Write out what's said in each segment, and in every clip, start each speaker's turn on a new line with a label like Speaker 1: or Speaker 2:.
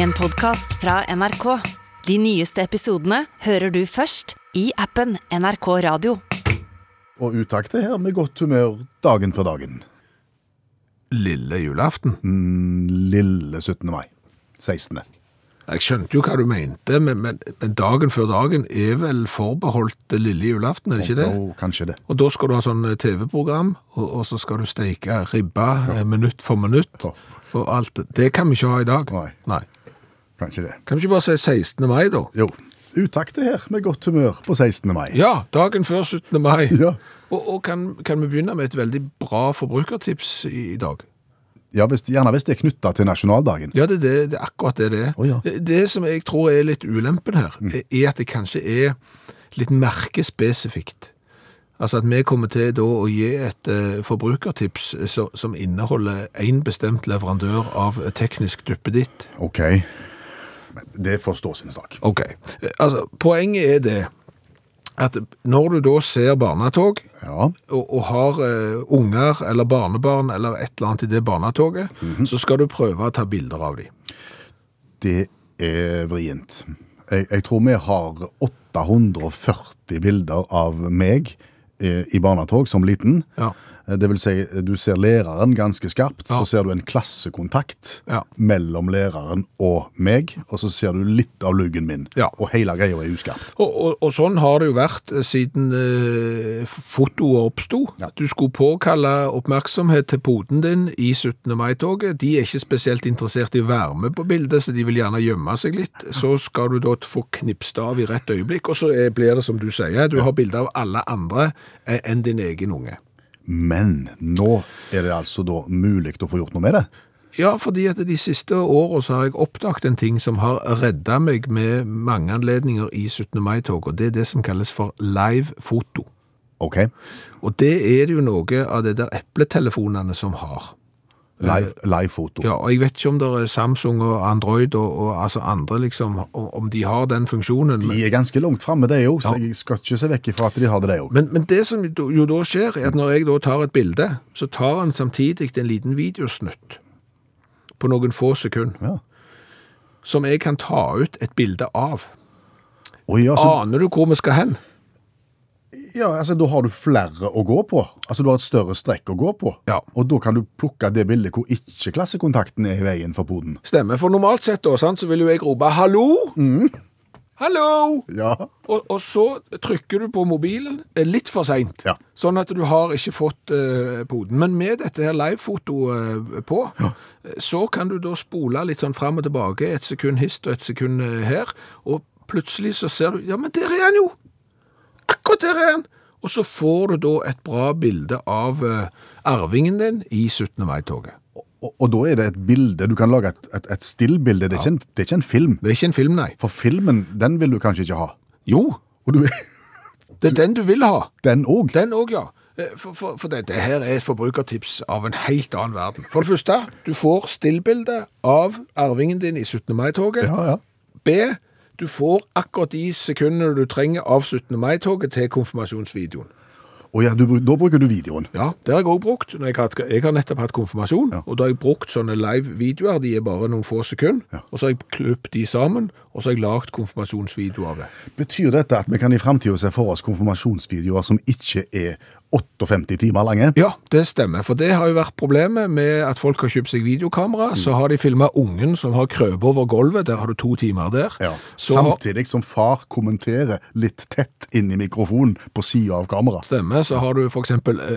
Speaker 1: En podcast fra NRK. De nyeste episodene hører du først i appen NRK Radio.
Speaker 2: og utakte her med godt humør dagen før dagen.
Speaker 3: Lille julaften?
Speaker 2: Mm, Lille 17. mai. 16.
Speaker 3: Jeg skjønte jo hva du mente, men, men, men dagen før dagen er vel forbeholdt det lille julaften, er det ikke det?
Speaker 2: Jo, kanskje det.
Speaker 3: Og da skal du ha sånn TV-program, og, og så skal du steike ribba eh, minutt for minutt,
Speaker 2: Ja.
Speaker 3: og alt det. Det kan vi ikke ha i dag.
Speaker 2: Nei. Kanskje det.
Speaker 3: Kan vi ikke bare si 16. mai, da?
Speaker 2: Jo, utakte her med godt humør på 16. mai.
Speaker 3: Ja, dagen før 17. mai.
Speaker 2: Ja.
Speaker 3: Og, og kan, kan vi begynne med et veldig bra forbrukertips i, i dag?
Speaker 2: Ja, hvis, gjerne hvis det er knytta til nasjonaldagen.
Speaker 3: Ja, det, er det, det er akkurat det det er.
Speaker 2: Å, ja. Mm.
Speaker 3: Det, det som jeg tror er litt ulempen her, er at det kanskje er litt merkespesifikt. Altså at vi kommer til da å gi et eh, forbrukertips som, som inneholder én bestemt leverandør av eh, teknisk duppeditt.
Speaker 2: OK. Men det får stå sin sak.
Speaker 3: Ok. Eh, Altså, poenget er det at når du da ser barnetog,
Speaker 2: Ja.
Speaker 3: og, og har eh, unger eller barnebarn eller et eller annet i det barnetoget,
Speaker 2: Mhm.
Speaker 3: så skal du prøve å ta bilder av dem.
Speaker 2: Det er vrient. Jeg, jeg tror vi har 840 bilder av meg eh, i barnetog som liten.
Speaker 3: Ja.
Speaker 2: Eh, Det vil si, eh, du ser læreren ganske skarpt,
Speaker 3: Ja.
Speaker 2: så ser du en klassekontakt
Speaker 3: Ja.
Speaker 2: mellom læreren og meg, og så ser du litt av luggen min,
Speaker 3: Ja.
Speaker 2: og hele greia er uskarpt.
Speaker 3: Og, og, og sånn har det jo vært siden eh, f- fotoet oppsto.
Speaker 2: Ja.
Speaker 3: Du skulle påkalle oppmerksomhet til poden din i 17. mai-toget. De er ikke spesielt interessert i å være med på bildet, så de vil gjerne gjemme seg litt. Så skal du da få knipst av i rett øyeblikk, og så er, blir det som du sier, du har bilder av alle andre eh, enn din egen unge.
Speaker 2: Men nå er det altså da mulig å få gjort noe med det.
Speaker 3: Ja, fordi at de siste årene så har jeg oppdaget en ting som har redda meg med mange anledninger i 17. mai-tog, og det er det som kalles for live foto.
Speaker 2: Ok,
Speaker 3: Og det er det jo noe av det der epletelefonene som har.
Speaker 2: live, live foto.
Speaker 3: Eh, Ja, og jeg vet ikke om det er Samsung og Android og, og altså andre liksom, om om de har den funksjonen. men-
Speaker 2: De er ganske langt framme, de òg, så jeg skal ikke se vekk ifra at de har det, de òg.
Speaker 3: Men, men det som jo jo da skjer, er at når jeg da tar et bilde, så tar han samtidig en liten videosnutt på noen få sekunder,
Speaker 2: Ja.
Speaker 3: som jeg kan ta ut et bilde av.
Speaker 2: Oi, ja, så
Speaker 3: Aner du hvor vi skal hen?
Speaker 2: Ja, altså da har du flere å gå på. Altså du har et større strekk å gå på.
Speaker 3: Ja.
Speaker 2: Og da kan du plukke det bildet hvor ikke klassekontakten er i veien for poden.
Speaker 3: Stemmer, for normalt sett da, sant, så vil jo jeg rope «Hallo! Hallo!»
Speaker 2: Ja.
Speaker 3: Og, og så trykker du på mobilen eh, litt for seint,
Speaker 2: Ja.
Speaker 3: sånn at du har ikke fått eh, poden. Men med dette her livefotoet eh, på, eh, så kan du da spole litt sånn fram og tilbake, et sekund hist og et sekund eh, her, og plutselig så ser du Ja, men der er han jo! Akkurat der er han! Og så får du da et bra bilde av eh, arvingen din i 17. mai-toget.
Speaker 2: Og, og da er det et bilde. Du kan lage et, et, et stillbilde. Det er, ikke en, det er ikke en film.
Speaker 3: Det er ikke en film, nei.
Speaker 2: For filmen, den vil du kanskje ikke ha.
Speaker 3: Jo,
Speaker 2: Og du,
Speaker 3: det er den du vil ha.
Speaker 2: den òg.
Speaker 3: Den òg, ja. Eh, For, for, for dette her er et forbrukertips av en helt annen verden. For det første, du får stillbilde av arvingen din i 17. mai-toget.
Speaker 2: Ja, ja.
Speaker 3: B. Du får akkurat de sekundene du trenger av 17. mai-toget til konfirmasjonsvideoen.
Speaker 2: Og ja, du, da bruker du videoen.
Speaker 3: Ja, Det har jeg òg brukt. Når jeg, har hatt, jeg har nettopp hatt konfirmasjon, og da har jeg brukt sånne live-videoer. De er bare noen få sekunder. Og så har jeg klippet de sammen, og så har jeg lagd konfirmasjonsvideo av det.
Speaker 2: Betyr dette at vi kan i framtida se for oss konfirmasjonsvideoer som ikke er 58 timer lange?
Speaker 3: Ja, det stemmer. For det har jo vært problemet med at folk har kjøpt seg videokamera. Så har de filma ungen som har krøpet over gulvet. Der har du to timer der.
Speaker 2: Ja.
Speaker 3: Så har,
Speaker 2: Samtidig som far kommenterer litt tett inn i mikrofonen på sida av kameraet.
Speaker 3: stemmer. Så har du f.eks.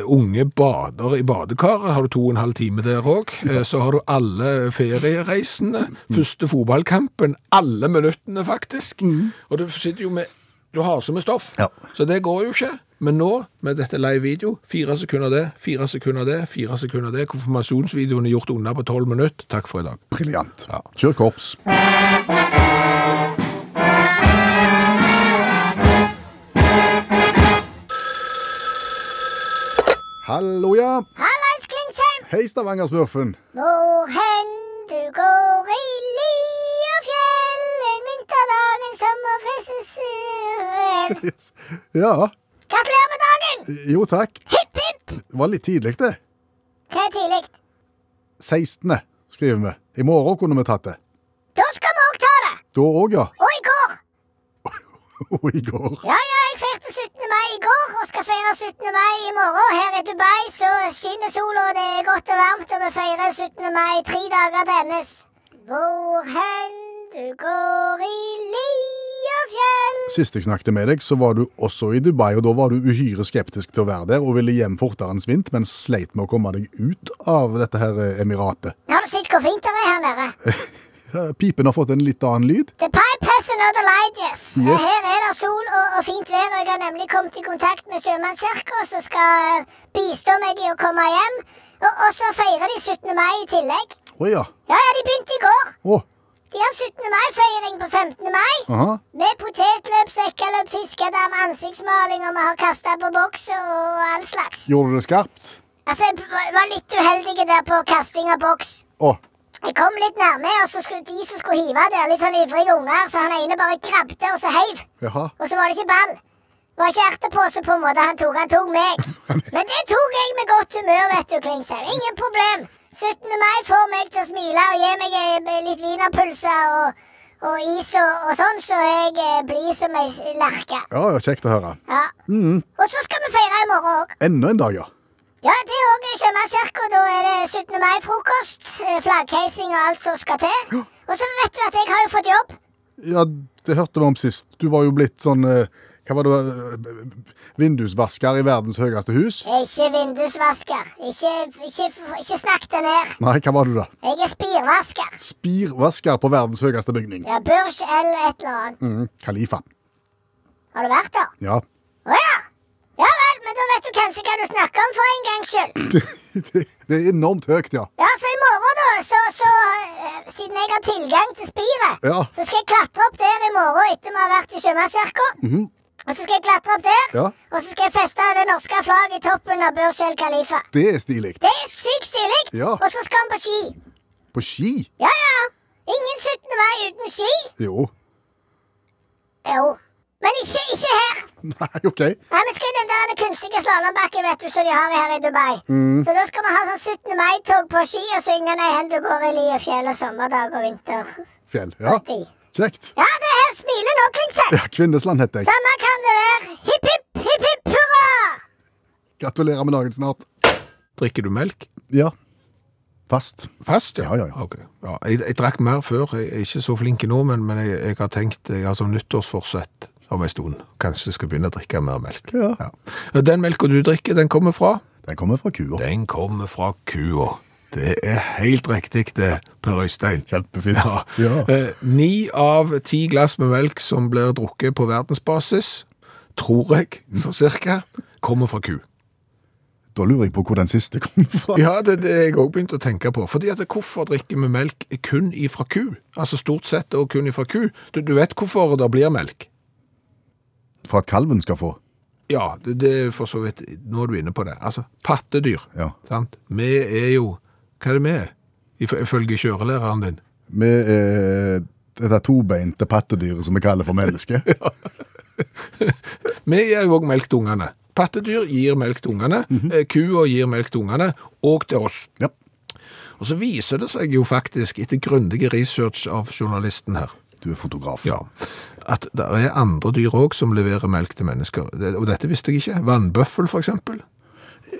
Speaker 3: unge bader i badekaret. Har du to og en halv time der òg. Så har du alle feriereisene. Første fotballkampen. Alle minuttene, faktisk. Og du sitter jo med Du har så med stoff.
Speaker 2: Ja.
Speaker 3: Så det går jo ikke. Men nå, med dette live video, fire sekunder det, fire sekunder det, fire sekunder det. Konfirmasjonsvideoen er gjort unna på tolv minutter. Takk for i dag.
Speaker 2: Briljant.
Speaker 3: Ja.
Speaker 2: Kjør korps. Hallo, ja.
Speaker 4: Hallais, Klingsheim!
Speaker 2: Hei, Stavangersmurfen.
Speaker 4: Hvor hen du går i li og fjell en vinterdagen sommerfestes
Speaker 2: Yes. Ja.
Speaker 4: Gratulerer med dagen!
Speaker 2: Jo, takk.
Speaker 4: Hipp, hipp!
Speaker 2: Det var litt tidlig, det.
Speaker 4: Hva er tidlig?
Speaker 2: 16. skriver vi. I morgen kunne vi tatt det.
Speaker 4: Da skal
Speaker 2: Da òg, ja.
Speaker 4: Og i går.
Speaker 2: Og i går.
Speaker 4: Ja, ja, jeg feirte 17. mai i går og skal feire 17. mai i morgen. Her i Dubai så skinner sola, og det er godt og varmt, og vi feirer 17. mai tre dager til hennes. Hvor hen du går i Liafjell
Speaker 2: Sist jeg snakket med deg, så var du også i Dubai, og da var du uhyre skeptisk til å være der og ville hjem fortere enn svint, men sleit med å komme deg ut av dette her eh, emiratet.
Speaker 4: Har du sett hvor fint det er her nede?
Speaker 2: Eh, Pipen har fått en litt annen lyd.
Speaker 4: The pipe has another light, yes.
Speaker 2: Yes.
Speaker 4: Her er det sol og, og fint vær, og jeg har nemlig kommet i kontakt med Sjømannskirka, som skal eh, bistå meg i å komme hjem. Og, og så feirer de 17. mai i tillegg.
Speaker 2: Å ja.
Speaker 4: Ja, ja, de begynte i går.
Speaker 2: Å,
Speaker 4: De har 17. mai-feiring på 15. mai.
Speaker 2: aha.
Speaker 4: Med potetløp, sekkeløp, fiskedam, ansiktsmaling, og vi har kasta på boks og og all slags.
Speaker 2: Gjorde du det skarpt?
Speaker 4: Altså, jeg b- var litt uheldig der på kasting av boks.
Speaker 2: Å,
Speaker 4: Jeg kom litt nærme, og så skulle de som skulle hive der, litt sånn ivrige unger, så han ene bare krabbte og så heiv.
Speaker 2: jaha.
Speaker 4: Og så var det ikke ball. Det var ikke ertepose på en måte han tok. Han tok meg. Men det tok jeg med godt humør, vet du, Klingsheim. Ingen problem. 17. mai får meg til å smile og gi meg eh, litt wienerpølser og, og is og, og sånn, så jeg eh, blir som ei s- lerke.
Speaker 2: Ja, ja, kjekt å høre.
Speaker 4: Ja. Og så skal vi feire i morgen òg.
Speaker 2: Enda en dag, ja.
Speaker 4: Ja, det er òg Sjømannskirka. Da er det 17. mai-frokost, eh, flaggheising og alt som skal til. Og så vet du at jeg har jo fått jobb.
Speaker 2: Ja, det hørte vi om sist. Du var jo blitt sånn eh, Hva var det eh, Vindusvasker i verdens høyeste hus?
Speaker 4: Ikke vindusvasker. Ikke, ikke, ikke snakk det ned.
Speaker 2: Nei, hva var du da?
Speaker 4: Jeg er spirvasker.
Speaker 2: Spirvasker på verdens høyeste bygning.
Speaker 4: Ja, Burj eller et eller annet.
Speaker 2: Mm, Kalifa.
Speaker 4: Har du vært der?
Speaker 2: Ja.
Speaker 4: Å ja! Ja vel, men da vet du kanskje hva du snakker om for en gangs skyld.
Speaker 2: Det, det er enormt høyt, ja.
Speaker 4: Ja, så i morgen, da, så, så eh, Siden jeg har tilgang til spiret,
Speaker 2: Ja.
Speaker 4: så skal jeg klatre opp der i morgen etter vi har vært i Sjømannskirka. Og så skal jeg klatre opp der,
Speaker 2: Mhm. Ja.
Speaker 4: og så skal jeg feste det norske flagget i toppen av Burj el Khalifa.
Speaker 2: Det er stilig.
Speaker 4: Det er sykt stilig!
Speaker 2: Ja.
Speaker 4: Og så skal vi på ski.
Speaker 2: På ski?
Speaker 4: Ja, ja. Ingen 17. mai uten ski.
Speaker 2: Jo.
Speaker 4: Jo. Men ikke, ikke her.
Speaker 2: Nei, OK.
Speaker 4: Nei, vi skal i den der kunstige slalåmbakken vet du, som de har her i Dubai. Så da skal vi ha sånn 17. mai-tog på ski og synge Nei, hen du går i li og fjell og sommerdag og vinter.
Speaker 2: Fjell. Ja.
Speaker 4: Ti.
Speaker 2: Kjekt.
Speaker 4: Ja, det her smiler nå, Klingseth.
Speaker 2: Ja, Kvinnesland heter jeg.
Speaker 4: Samme kan det være. Hipp, hipp, hipp, hipp hurra!
Speaker 2: Gratulerer med dagen snart.
Speaker 3: Drikker du melk?
Speaker 2: Ja. Fast.
Speaker 3: Fast,
Speaker 2: Ja, ja, ja.
Speaker 3: Ok. ja jeg, jeg drakk mer før. Jeg er ikke så flink nå, men, men jeg, jeg har tenkt jeg har sånn nyttårsforsett om en stund. Kanskje jeg skal begynne å drikke mer melk.
Speaker 2: Ja.
Speaker 3: Og Den melka du drikker, den kommer fra?
Speaker 2: Den kommer fra kua.
Speaker 3: Den kommer fra kua. Det er helt riktig det, Per Øystein.
Speaker 2: Kjempefint.
Speaker 3: Ja.
Speaker 2: Ja.
Speaker 3: Eh, Ni av ti glass med melk som blir drukket på verdensbasis, tror jeg, så cirka, kommer fra ku.
Speaker 2: Da lurer jeg på hvor den siste kommer fra.
Speaker 3: Ja, det er det jeg òg begynte å tenke på. Fordi at Hvorfor drikker vi melk kun ifra ku? Altså stort sett og kun ifra ku. Du, du vet hvorfor det blir melk?
Speaker 2: For at kalven skal få.
Speaker 3: Ja, det, det er for så vidt Nå er du inne på det. Altså, pattedyr.
Speaker 2: Ja.
Speaker 3: Sant? Vi er jo Hva er det vi er? If- Ifølge kjørelæreren din.
Speaker 2: Med eh, det der tobeinte pattedyret som vi kaller for menneske.
Speaker 3: Vi gir jo òg melk til ungene. Pattedyr gir melk til ungene. eh, Kua gir melk til ungene, og til oss.
Speaker 2: Ja.
Speaker 3: Og så viser det seg jo faktisk, etter grundige research av journalisten her,
Speaker 2: Du er fotograf.
Speaker 3: Ja, at det er andre dyr òg som leverer melk til mennesker. Det- Og dette visste jeg ikke. Vannbøffel, for eksempel.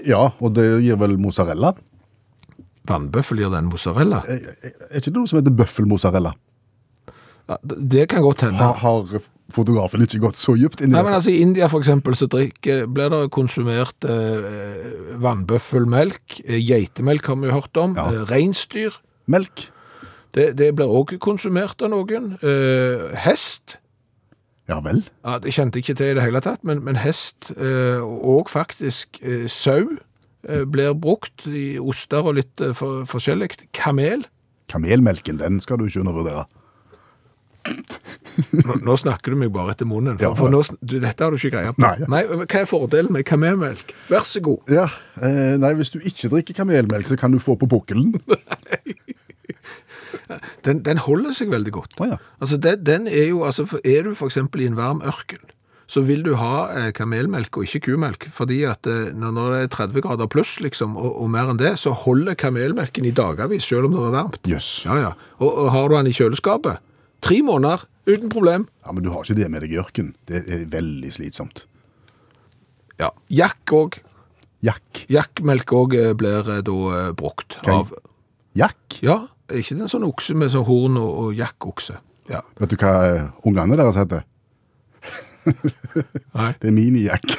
Speaker 2: Ja, og det gir vel mozzarella?
Speaker 3: Vannbøffel gir den mozzarella.
Speaker 2: Er er ikke det noe som heter bøffelmozzarella?
Speaker 3: Ja, det- Det kan godt hende.
Speaker 2: Har, har fotografen ikke gått så dypt inn i
Speaker 3: Nei, men
Speaker 2: det?
Speaker 3: altså I India for eksempel, så drikker, blir det konsumert eh, vannbøffelmelk. eh, Geitemelk har vi jo hørt om.
Speaker 2: Ja.
Speaker 3: Eh, Reinsdyr.
Speaker 2: Melk?
Speaker 3: Det, det blir òg konsumert av noen. Eh, hest.
Speaker 2: Ja vel?
Speaker 3: Ja, det kjente jeg ikke til i det hele tatt, men, men hest eh, og faktisk eh, sau eh, blir brukt i oster og litt eh, for, forskjellig. Kamel.
Speaker 2: Kamelmelken, den skal du ikke undervurdere.
Speaker 3: Nå, nå snakker du meg bare etter munnen, for,
Speaker 2: Ja.
Speaker 3: for nå, sn- du, dette har du ikke greie på.
Speaker 2: Nei.
Speaker 3: men hva er fordelen med kamelmelk? Vær så god.
Speaker 2: Ja, eh, Nei, hvis du ikke drikker kamelmelk, så kan du få på pukkelen.
Speaker 3: Den, den holder seg veldig godt.
Speaker 2: Å ja.
Speaker 3: Altså, den, den er jo, altså, for- er du for eksempel i en varm ørken, så vil du ha eh, kamelmelk og ikke kumelk, fordi at eh, når når det er 30 grader pluss, liksom, og, og mer enn det, så holder kamelmelken i dagavis, selv om det er varmt.
Speaker 2: Jøss.
Speaker 3: Ja, ja. Og, og har du den i kjøleskapet, Tre måneder uten problem.
Speaker 2: Ja, Men du har ikke det med deg i ørken. Det er veldig slitsomt.
Speaker 3: Ja. Jakk òg.
Speaker 2: Jakk.
Speaker 3: Jakkmelk òg eh, blir eh, da eh, brukt
Speaker 2: Ok.
Speaker 3: av
Speaker 2: Jakk?
Speaker 3: Ja, er ikke det en sånn okse med sånn horn og, og jakkokse? Ja.
Speaker 2: Vet du hva eh, ungene deres heter?
Speaker 3: Nei.
Speaker 2: Det er minijakk.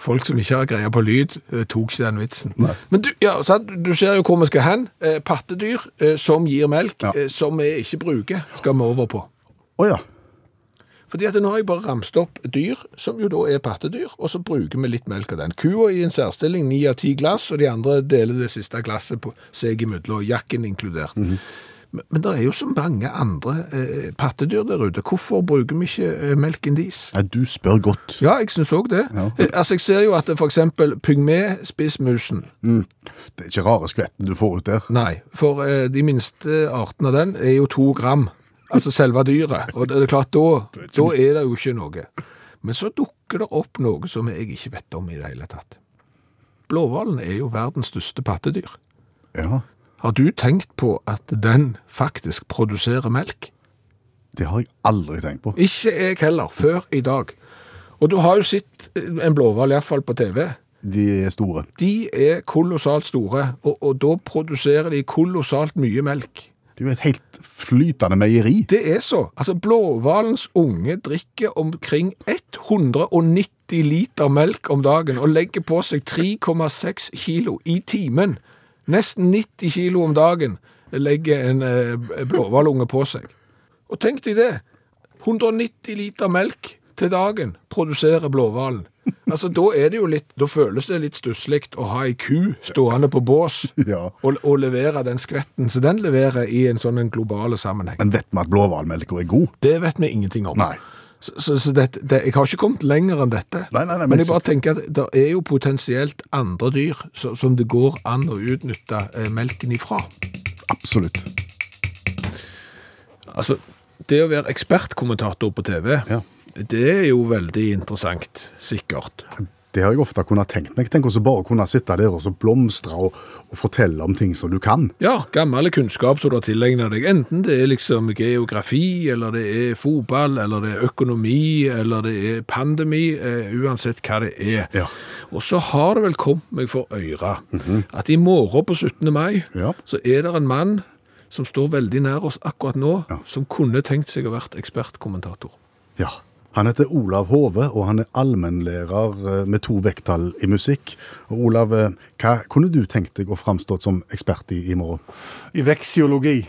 Speaker 3: Folk som ikke har greie på lyd, eh, tok ikke den vitsen. Men du, ja, sant? du ser jo hvor vi skal hen. Eh, pattedyr eh, som gir melk,
Speaker 2: Ja.
Speaker 3: eh, som vi ikke bruker, skal vi over på.
Speaker 2: Å ja.
Speaker 3: Fordi at nå har jeg bare ramst opp dyr, som jo da er pattedyr, og så bruker vi litt melk av den. Kua i en særstilling, ni av ti glass, og de andre deler det siste glasset på seg imellom, og jakken inkludert. Men, men det er jo så mange andre eh, pattedyr der ute. Hvorfor bruker vi ikke eh, melk enn dis?
Speaker 2: Nei, du spør godt.
Speaker 3: Ja, jeg syns òg det.
Speaker 2: Ja.
Speaker 3: Eh, Altså, Jeg ser jo at det for eksempel pygmé-spissmusen
Speaker 2: Det er ikke rare skvetten du får ut der.
Speaker 3: Nei, for eh, de minste artene av den er jo to gram. Altså selve dyret. Og det er klart, da, da er det jo ikke noe. Men så dukker det opp noe som jeg ikke vet om i det hele tatt. Blåhvalen er jo verdens største pattedyr.
Speaker 2: Ja,
Speaker 3: Har du tenkt på at den faktisk produserer melk?
Speaker 2: Det har jeg aldri tenkt på.
Speaker 3: Ikke jeg heller, før i dag. Og du har jo sett eh, en blåhval, iallfall på TV.
Speaker 2: De er store.
Speaker 3: De er kolossalt store, og, og da produserer de kolossalt mye melk.
Speaker 2: Det er jo et helt flytende meieri.
Speaker 3: Det er så. Altså, Blåhvalens unge drikker omkring 190 liter melk om dagen og legger på seg 3,6 kilo i timen. Nesten 90 kilo om dagen legger en eh, blåhvalunge på seg. Og tenk deg det. 190 liter melk til dagen produserer blåhvalen. Altså, da er det jo litt Da føles det litt stusslig å ha ei ku stående på bås
Speaker 2: Ja.
Speaker 3: og, og levere den skvetten som den leverer i en sånn en global sammenheng.
Speaker 2: Men vet vi at blåhvalmelka er god?
Speaker 3: Det vet vi ingenting om.
Speaker 2: Nei.
Speaker 3: Så, så, så det, det, jeg har ikke kommet lenger enn dette.
Speaker 2: Nei, nei, nei, men-
Speaker 3: men, jeg bare tenker at det er jo potensielt andre dyr så, som det går an å utnytte eh, melken ifra.
Speaker 2: Absolutt.
Speaker 3: Altså, det å være ekspertkommentator på TV,
Speaker 2: Ja.
Speaker 3: det er jo veldig interessant, sikkert.
Speaker 2: Det har jeg ofte kunnet tenkt meg. Tenk også bare å kunne sitte der og så blomstre og, og fortelle om ting som du kan.
Speaker 3: Ja, gammel kunnskap som du har tilegnet deg. Enten det er liksom geografi, eller det er fotball, eller det er økonomi, eller det er pandemi, eh, uansett hva det er.
Speaker 2: Ja.
Speaker 3: Og så har det vel kommet meg for øyre at i morgen på 17. mai,
Speaker 2: Ja.
Speaker 3: så er det en mann som står veldig nær oss akkurat nå, som kunne tenkt seg å vært ekspertkommentator.
Speaker 2: Ja. Han heter Olav Hove, og han er allmennlærer eh, med to vekttall i musikk. Og Olav, eh, hva kunne du tenkt deg å framstå som ekspert i i morgen?
Speaker 5: i veksiologi.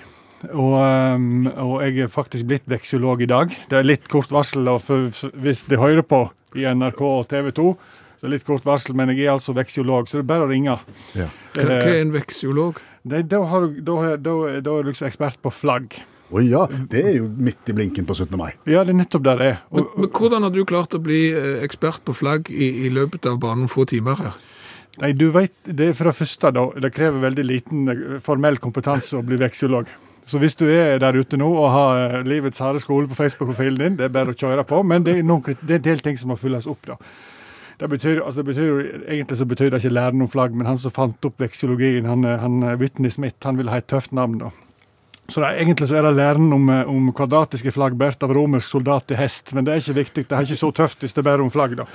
Speaker 5: Og, ehm, og jeg er faktisk blitt veksiolog i dag. Det er litt kort varsel og for, for- hvis de hører på i NRK og TV 2. Så litt kort varsel, men jeg er altså veksiolog, så det er bare å ringe.
Speaker 2: Ja.
Speaker 3: Hva, hva er en veksiolog?
Speaker 5: Det, da, har, du- da, er- da, er- da er du liksom ekspert på flagg.
Speaker 2: Å ja, det er jo midt i blinken på 17. mai.
Speaker 5: Ja, det er nettopp det det er.
Speaker 3: Men,
Speaker 5: Og,
Speaker 3: men hvordan har du klart å bli eh, ekspert på flagg i, i løpet av bare noen få timer her?
Speaker 5: nei, du vet, det er for det første, da. Det krever veldig liten eh, formell kompetanse å bli veksiolog. Så hvis du er der ute nå og har eh, Livets harde skole på Facebook-profilen din, det er bare å kjøre på. Men det er, noen, krit- det er en del ting som må fylles opp, da. Det betyr, altså det betyr, jo- egentlig så betyr det ikke læren om flagg, men han som fant opp veksiologien, han, eh, han eh, Whitney Smith, han ville ha et tøft navn, da. Så det, er- egentlig så er det læren om, eh, om kvadratiske flagg båret av romersk soldat til hest, men det er ikke viktig, det er ikke så tøft hvis det er bare om flagg, da.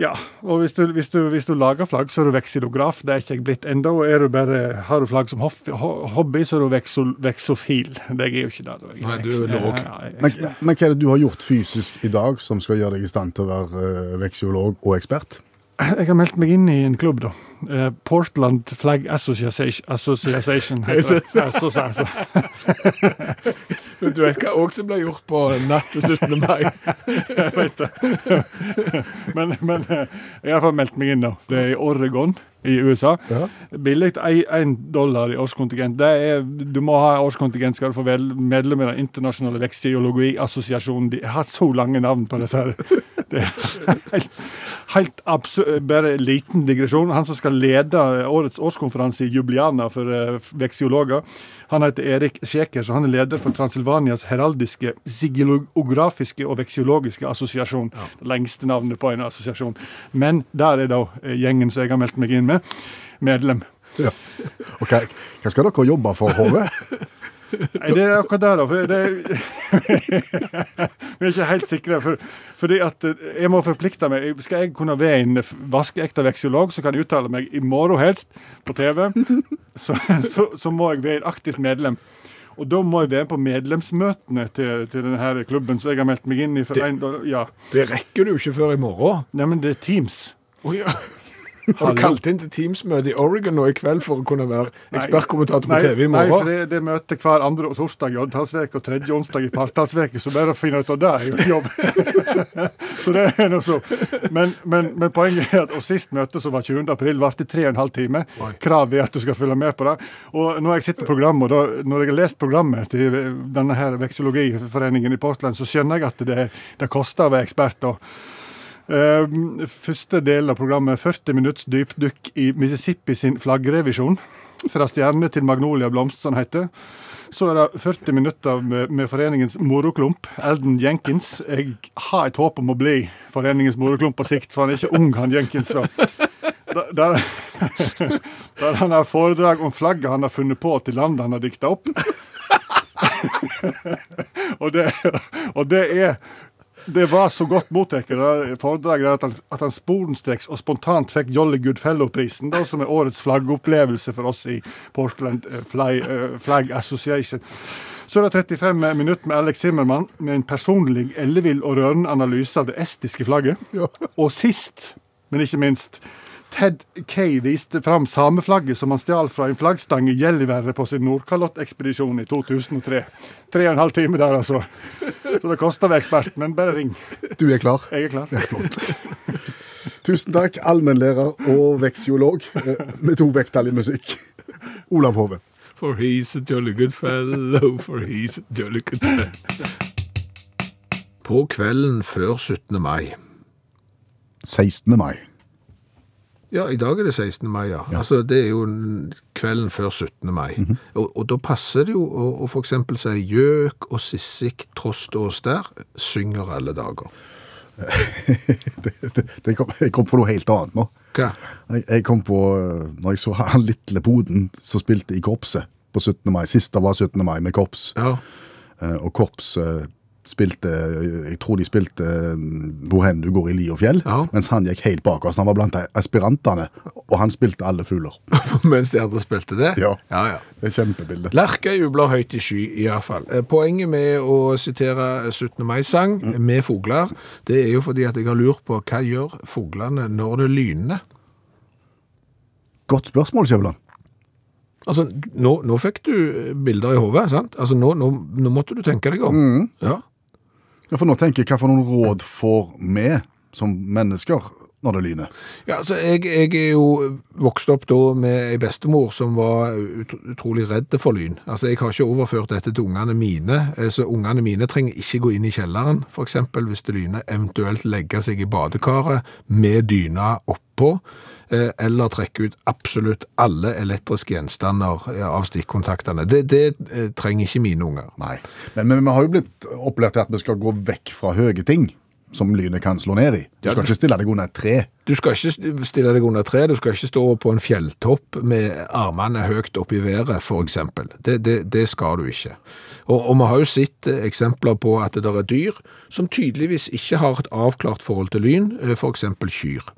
Speaker 5: Ja, og hvis du, hvis, du, hvis du lager flagg, så er du veksilograf. Det er ikke jeg blitt ennå. Og er du bare, har du flagg som hoff- ho- hobby, så er du veksol, veksofil. Det er jeg jo ikke det. da. Jeg
Speaker 3: Nei, du er
Speaker 5: veks-
Speaker 3: låg.
Speaker 5: Ja, jeg-
Speaker 2: Men, men hva er det du har gjort fysisk i dag som skal gjøre deg i stand til å være eh, veksiolog og ekspert?
Speaker 5: Jeg har meldt meg inn i en klubb, da. Eh, Portland Flag Association, Association heter det. Associ- altså.
Speaker 3: Du vet hva også ble gjort på natt til 17. mai?
Speaker 5: Men, men eh, jeg har i hvert fall meldt meg inn, da. Det er i Oregon i USA.
Speaker 2: Ja.
Speaker 5: Billig én dollar i årskontingent. Det er, du må ha årskontingent skal du få vel- medlem i Den internasjonale veksiologiassosiasjonen. De har så lange navn på disse her. Det er helt, helt absurd. Bare en liten digresjon. Han som skal lede årets årskonferanse i Jubliana for eh, veksiologer, han heter Erik Sjekers, og han er leder for Transilvanias heraldiske, sigillografiske og veksiologiske assosiasjon. Det lengste navnet på en assosiasjon. Men der er da eh, gjengen som jeg har meldt meg inn med, medlem.
Speaker 2: Ja. Og hva, hva skal dere jobbe for, Hove?
Speaker 5: Nei, det er akkurat det, da. For det er, vi er ikke helt sikre. For, fordi at eh, jeg må forplikte meg. Skal jeg kunne være en f- vaskeekte veksiolog som kan jeg uttale meg i morgen helst på TV, så, så, så må jeg være et aktivt medlem. Og da må jeg være på medlemsmøtene til, til denne her klubben som jeg har meldt meg inn i. For en, ja.
Speaker 3: Det rekker du ikke før i morgen.
Speaker 5: Nei, men det er Teams.
Speaker 3: Oh, ja. Har du kalt inn til Teams-møte i Oregon nå i kveld for å kunne være ekspertkommentator på
Speaker 5: Nei,
Speaker 3: TV i
Speaker 5: Nei, for
Speaker 3: morgen?
Speaker 5: det, det møter hver andre og torsdag i Oddtalsveke og tredje onsdag i Partallsveke, så bare å finne ut av det er jo en jobb. så det er noe så. Men, men, men poenget er at og sist møte, som var 20. april, varte tre og en halv time. Krav er at du skal følge med på det. Og når jeg sitter på programmet, og da, når jeg har lest programmet til denne her veksologiforeningen i Portland, så skjønner jeg at det, det koster å være ekspert. da. Ehm, Første del av programmet 40 minutts dypdykk i Mississippi sin flaggrevisjon. Fra stjerne til magnolia blomst, som det heter. Så er det 40 minutter med, med foreningens moroklump, Elden Jenkins. Jeg har et håp om å bli foreningens moroklump på sikt, for han er ikke ung, han Jenkins. da. Der, der, der han har foredrag om flagget han har funnet på til landet han har dikta opp. og, det, og det er det var så godt mottatt det foredraget der, at han, at han sporenstreks og spontant fikk Jolly Good Fellow-prisen, da, som er årets flaggopplevelse for oss i Portland eh, Fly, eh, Flag Association. Så er det 35 minutter med Alex Zimmermann med en personlig ellevill og rørende analyse av det estiske flagget. Og sist, men ikke minst, Ted Kay viste fram sameflagget som han stjal fra en flaggstang i Gjelliværet på sin Nordkalott-ekspedisjon i 2003. Tre og en halv time der, altså. Så det koster å være ekspert, men bare ring.
Speaker 2: Du er klar?
Speaker 5: Jeg er klar.
Speaker 2: Tusen takk, allmennlærer og veksiolog eh, med to vekttall i musikk. Olav Hove.
Speaker 3: For he's a jolly good fellow, for he's a jolly good fellow. På kvelden før 17. mai
Speaker 2: 16. mai.
Speaker 3: Ja, i dag er det 16. mai, ja. Mhm. Altså, det er jo n- kvelden før 17. mai. og, og da passer det jo å, å for eksempel si gjøk og sissik, trost og stær, synger alle dager.
Speaker 2: Det, det, det kom, jeg kom på noe helt annet nå.
Speaker 3: Hva?
Speaker 2: Jeg, jeg kom på, eh, når jeg så han lille poden som spilte i korpset på 17. mai, siste var 17. mai med korps,
Speaker 3: Ja,
Speaker 2: eh, og korps eh, spilte, jeg tror de spilte eh, Hvor hen du går i li og fjell,
Speaker 3: Ja.
Speaker 2: mens han gikk helt bak oss. Han var blant aspirantene, og han spilte alle fugler.
Speaker 3: mens de andre spilte det?
Speaker 2: Ja.
Speaker 3: ja, ja.
Speaker 2: Det er et kjempebilde.
Speaker 3: Lerka jubler høyt i sky, i hvert fall. Eh, Poenget med å sitere 17. mai-sang med fugler, det er jo fordi at jeg har lurt på hva gjør fuglene når det lyner?
Speaker 2: Godt spørsmål, Skjæveland.
Speaker 3: Altså, nå, nå fikk du bilder i hodet, sant? Altså, nå, nå, nå måtte du tenke deg om. Ja.
Speaker 2: Ja, for nå tenker jeg hva for noen råd får vi som mennesker når det lyner.
Speaker 3: Ja, altså, jeg, jeg er jo vokst opp da med ei bestemor som var ut, utrolig redd for lyn. Altså, jeg har ikke overført dette til ungene mine, eh, så ungene mine trenger ikke gå inn i kjelleren, for eksempel, hvis det lyner, eventuelt legge seg i badekaret med dyna oppå, eh, eller trekke ut absolutt alle elektriske gjenstander eh, av stikkontaktene. Det, det eh, trenger ikke mine unger. Nei.
Speaker 2: Men, men vi har jo blitt opplært til at vi skal gå vekk fra høye ting som lynet kan slå ned i. Du skal ikke stille deg under et tre.
Speaker 3: Du skal ikke stille deg under tre, du skal ikke stå på en fjelltopp med armene høyt opp i været, for eksempel. Det, det, det skal du ikke. Og, og vi har jo sett eh, eksempler på at det der er dyr som tydeligvis ikke har et avklart forhold til lyn, eh, for eksempel kyr.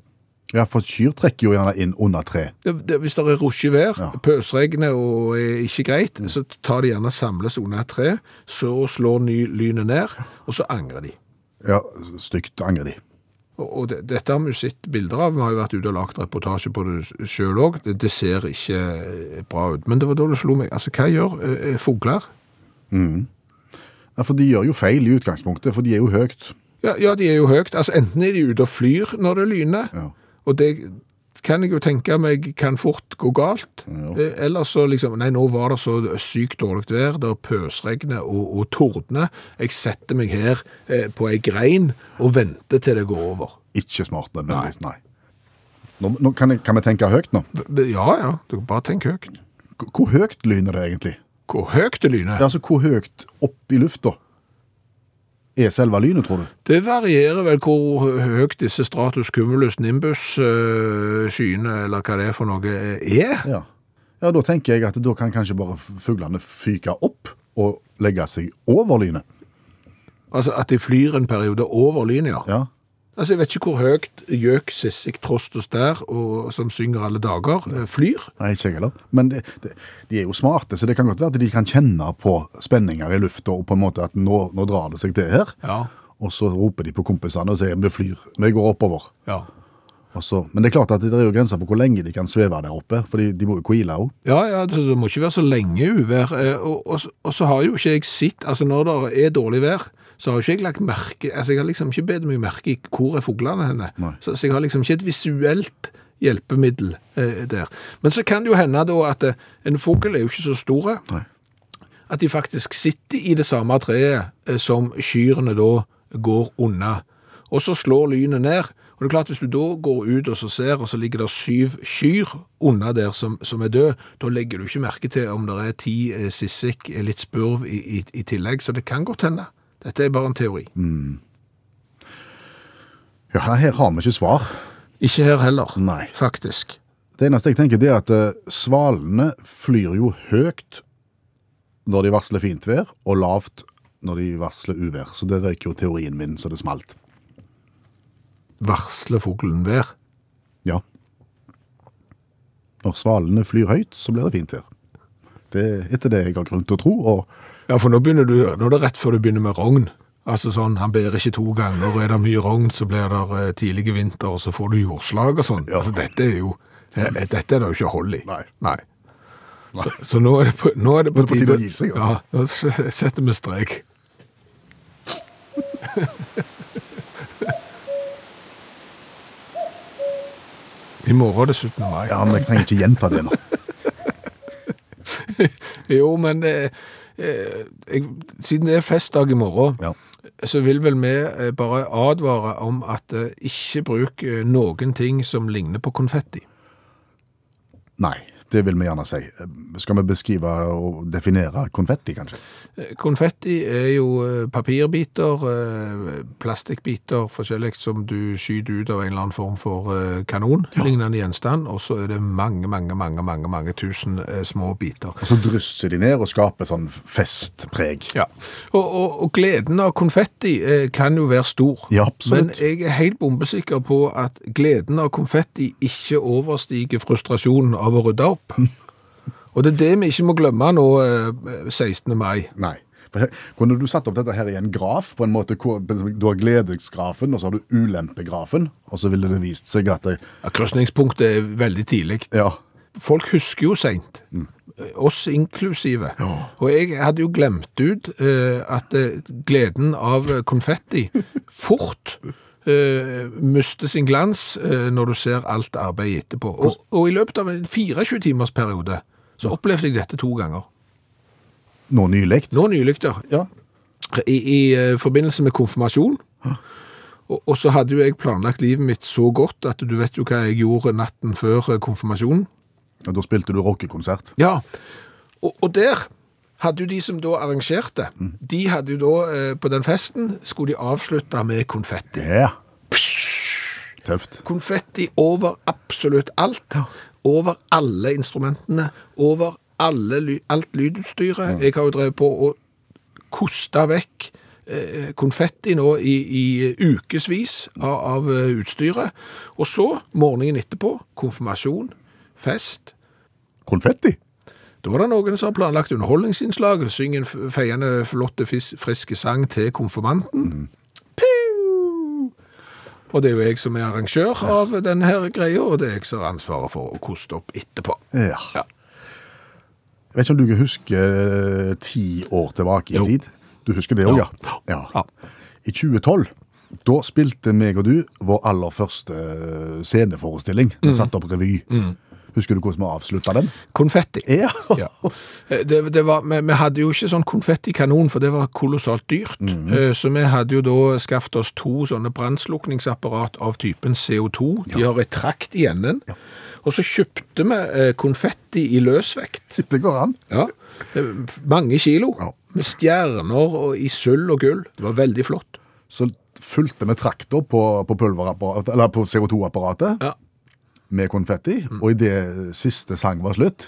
Speaker 2: Ja, for kyr trekker jo gjerne inn under tre.
Speaker 3: Det, det, hvis det er rusje vær, pøsregnet og er ikke greit, så tar de gjerne samles under et tre, så slår ny lynet ned, og så angrer de.
Speaker 2: Ja, stygt angrer de.
Speaker 3: Og, og det, dette har vi jo sett bilder av. Vi har jo vært ute og lagt reportasje på det sjøl òg. Det, det ser ikke eh, bra ut. Men det var da det slo meg. Altså, hva gjør eh, fugler?
Speaker 2: Ja, for de gjør jo feil i utgangspunktet, for de er jo høyt.
Speaker 3: Ja, ja, de er jo høyt. Altså, enten er de ute og flyr når det lyner,
Speaker 2: Ja.
Speaker 3: og det kan jeg jo tenke meg kan fort gå galt. Eh, Eller så liksom Nei, nå var det så sykt dårlig vær, det pøsregner og, og tordner. Jeg setter meg her eh, på ei grein og venter til det går over.
Speaker 2: Ikke smart nødvendigvis, nei. Nå, nå kan, jeg, kan vi tenke høyt nå?
Speaker 3: B- b- Ja ja, du kan bare tenke høyt.
Speaker 2: Hvor- Hvor høyt lyner det egentlig?
Speaker 3: Hvor høyt det lyner.
Speaker 2: Det er altså hvor høyt opp i lufta er selve lynet, tror du?
Speaker 3: Det varierer vel hvor høyt disse stratus cumulus nimbus-skyene, eller hva det er for noe, er.
Speaker 2: Ja. ja, da tenker jeg at da kan kanskje bare f- fuglene fyke opp. å legge seg over lynet.
Speaker 3: Altså at de flyr en periode over linja.
Speaker 2: Ja.
Speaker 3: Altså, jeg vet ikke hvor høyt Gjøk, Sissik, Trostos der, og, som synger alle dager, eh, flyr.
Speaker 2: Nei, ikke jeg heller. Men det, det, de er jo smarte, så det kan godt være at de kan kjenne på spenninger i lufta og på en måte at nå, nå drar det seg til her.
Speaker 3: Ja.
Speaker 2: Og så roper de på kompisene og sier vi flyr, vi går oppover.
Speaker 3: Ja.
Speaker 2: Og så, men det er klart at det er jo grenser for hvor lenge de kan sveve der oppe, for de, de må jo hvile òg.
Speaker 3: Ja, ja, det, det må ikke være så lenge uvær. eh, Og, og, så- og så har jo ikke jeg sett, altså når det er dårlig vær, så har jo ikke jeg lagt merke, altså jeg har liksom ikke bedt meg merke i hvor er fuglene henne.
Speaker 2: Nei.
Speaker 3: Så, så jeg har liksom ikke et visuelt hjelpemiddel eh, der. Men så kan det jo hende da at eh, en fugl er jo ikke så eh. store,
Speaker 2: Nei.
Speaker 3: at de faktisk sitter i det samme treet eh, som kyrene da går unna. Og så slår lynet ned, og det er klart hvis du da går ut og så ser, og så ligger det syv kyr unna der som, som er død, da legger du ikke merke til om det er ti eh, sissik, eh, litt spurv i, i, i tillegg, så det kan godt hende. Dette er bare en teori.
Speaker 2: Ja, her har vi ikke svar.
Speaker 3: Ikke her heller,
Speaker 2: Nei.
Speaker 3: faktisk.
Speaker 2: Det eneste jeg tenker, det er at eh, svalene flyr jo høyt når de varsler fint vær, og lavt når de varsler uvær. Så det røyker jo teorien min så det smalt.
Speaker 3: Varsler fuglen vær?
Speaker 2: Ja. Når svalene flyr høyt, så blir det fint vær. Det er etter det jeg har grunn til å tro, og
Speaker 3: Ja, for nå begynner du, nå er det rett før du begynner med rogn. Altså sånn, han ber ikke to ganger, og er det mye rogn, så blir det eh, tidlige vinter, og så får du jordslag og sånn. Altså, dette er jo, eh, dette er det jo ikke hold i.
Speaker 2: Nei.
Speaker 3: Så, så nå er det på, nå er det
Speaker 2: Nå
Speaker 3: på,
Speaker 2: er det på tide å gi seg,
Speaker 3: Ja,
Speaker 2: ja.
Speaker 3: nå s- setter vi strek. I morgen er det 17. mai.
Speaker 2: ja, men jeg trenger ikke gjenta det nå.
Speaker 3: Jo, men eh, eh, jeg, siden det er festdag i morgen,
Speaker 2: Ja.
Speaker 3: så vil vel vi eh, bare advare om at eh, ikke bruk eh, noen ting som ligner på konfetti.
Speaker 2: Nei, det vil vi gjerne si. Skal vi beskrive og definere konfetti, kanskje?
Speaker 3: Eh, Konfetti er jo eh, papirbiter, eh, plastikkbiter, forskjellig som du skyter ut av en eller annen form for eh, kanon, lignende gjenstand, og så er det mange, mange, mange, mange, mange tusen eh, små biter.
Speaker 2: Og så drysser de ned og skaper sånn festpreg.
Speaker 3: Ja, og, og, og gleden av konfetti eh, kan jo være stor.
Speaker 2: Ja, absolutt.
Speaker 3: Men jeg er helt bombesikker på at gleden av konfetti ikke overstiger frustrasjonen av å rydde opp.
Speaker 2: Mm.
Speaker 3: Og det er det vi ikke må glemme nå eh, 16. mai.
Speaker 2: Nei. For her, kunne du satt opp dette her i en graf, på en måte, hvor- du har gledesgrafen, og så har du ulempegrafen, og så ville det vist seg at det,
Speaker 3: Ja, Krysningspunktet er veldig tidlig.
Speaker 2: ja,
Speaker 3: Folk husker jo seint. Oss inklusive. Og jeg hadde jo glemt ut eh, at eh, gleden av eh, konfetti fort eh, mister sin glans eh, når du ser alt arbeidet etterpå. Og, og i løpet av en 24-timersperiode så opplevde jeg dette to ganger.
Speaker 2: nå nylig.
Speaker 3: Nå nylig, da.
Speaker 2: Ja.
Speaker 3: I, i eh, forbindelse med konfirmasjon. Og, og så hadde jo jeg planlagt livet mitt så godt at du vet jo hva jeg gjorde natten før eh, konfirmasjonen.
Speaker 2: Og da spilte du rockekonsert.
Speaker 3: Ja, og, og der hadde jo de som da arrangerte, de hadde jo da eh, på den festen, skulle de avslutte med konfetti.
Speaker 2: Ja. Tøft.
Speaker 3: Konfetti over absolutt alt. Over alle instrumentene, over alle, ly- alt lydutstyret. Jeg har jo drevet på å koste vekk eh, konfetti nå i, i ukesvis av, av eh, utstyret. Og så, morgenen etterpå, konfirmasjon, fest,
Speaker 2: Konfetti?
Speaker 3: Da var det noen som har planlagt underholdningsinnslag, synge en f- feiende flotte fis- friske sang til konfirmanten. Mm. Piu! Og det er jo jeg som er arrangør av denne her greia, og det er jeg som har ansvaret for å koste opp etterpå.
Speaker 2: Ja.
Speaker 3: Ja.
Speaker 2: Jeg vet ikke om du husker ti år tilbake i
Speaker 3: Jo.
Speaker 2: tid? Du husker det òg, ja. ja. I 2012 da spilte meg og du vår aller første eh, sceneforestilling. Vi satte opp revy. Husker du hvordan vi avslutta den?
Speaker 3: Konfetti.
Speaker 2: Ja.
Speaker 3: Ja. Eh, Det, det var, vi, vi hadde jo ikke sånn konfettikanon, for det var kolossalt dyrt. Eh, Så vi hadde jo da skaffet oss to sånne brannslukningsapparat av typen CO2. De har et trakt i enden. Og så kjøpte vi eh, konfetti i løsvekt.
Speaker 2: Det går an.
Speaker 3: Ja. Eh, Mange kilo.
Speaker 2: Ja.
Speaker 3: Med stjerner og i sølv og gull. Det var veldig flott.
Speaker 2: Så fulgte vi traktor på, på, pulverapparatet- eller på CO2-apparatet
Speaker 3: Ja.
Speaker 2: med konfetti, og idet siste sang var slutt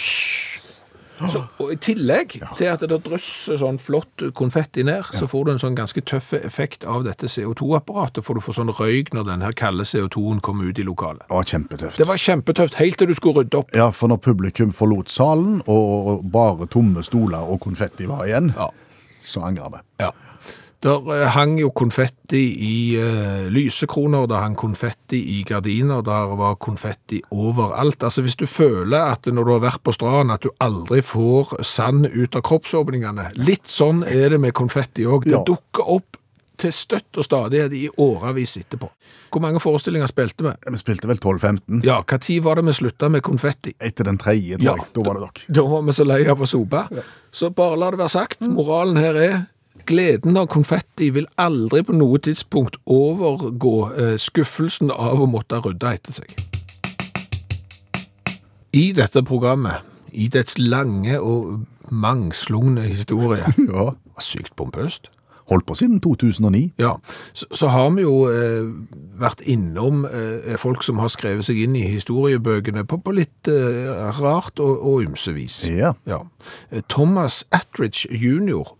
Speaker 3: Så, og I tillegg til at det drysser sånn flott konfetti ned, så får du en sånn ganske tøff effekt av dette CO2-apparatet, for du får sånn røyk når den her kalde CO2-en kommer ut i lokalet.
Speaker 2: Det var kjempetøft.
Speaker 3: Det var kjempetøft, helt til du skulle rydde opp.
Speaker 2: Ja, for når publikum forlot salen, og bare tomme stoler og konfetti var igjen,
Speaker 3: Ja.
Speaker 2: så angra vi.
Speaker 3: Ja. Der eh, hang jo konfetti i eh, lysekroner, der hang konfetti i gardiner, der var konfetti overalt. Altså hvis du føler at når du har vært på stranden at du aldri får sand ut av kroppsåpningene, litt sånn er det med konfetti òg. Det
Speaker 2: Ja.
Speaker 3: dukker opp til støtt og stadighet i årevis etterpå. Hvor mange forestillinger spilte vi?
Speaker 2: Vi spilte vel 12-15.
Speaker 3: Ja, hva tid var det vi slutta med konfetti?
Speaker 2: Etter den tredje, tror
Speaker 3: Ja.
Speaker 2: jeg. Da var det dere.
Speaker 3: Da var vi så lei av å sope. Så bare la det være sagt, moralen her er gleden av konfetti vil aldri på noe tidspunkt overgå eh, skuffelsen av å måtte rydde etter seg. I dette programmet, i dets lange og mangslungne historie,
Speaker 2: Ja.
Speaker 3: var sykt pompøst.
Speaker 2: Holdt på siden 2009.
Speaker 3: Ja, så, så har vi jo eh, vært innom eh, folk som har skrevet seg inn i historiebøkene på, på litt eh, rart og, og ymse vis.
Speaker 2: Ja.
Speaker 3: Ja. Eh, Thomas Attridge jr.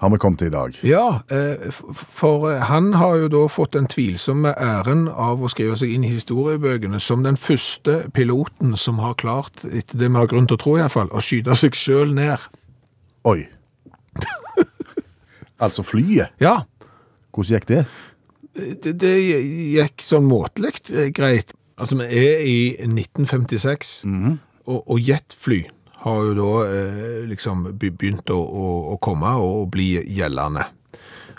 Speaker 2: Har vi kommet til i dag.
Speaker 3: Ja, eh, f- for eh, han har jo da fått den tvilsomme æren av å skrive seg inn i historiebøkene som den første piloten som har klart, etter det vi har grunn til å tro iallfall, å skyte seg sjøl ned.
Speaker 2: Oi. altså flyet.
Speaker 3: Ja,
Speaker 2: Hvordan gikk det?
Speaker 3: det, det gikk sånn måtelig eh, greit. Altså, vi er i 1956, og, og jetfly har jo da eh, liksom be- begynt å, å, å komme og bli gjeldende.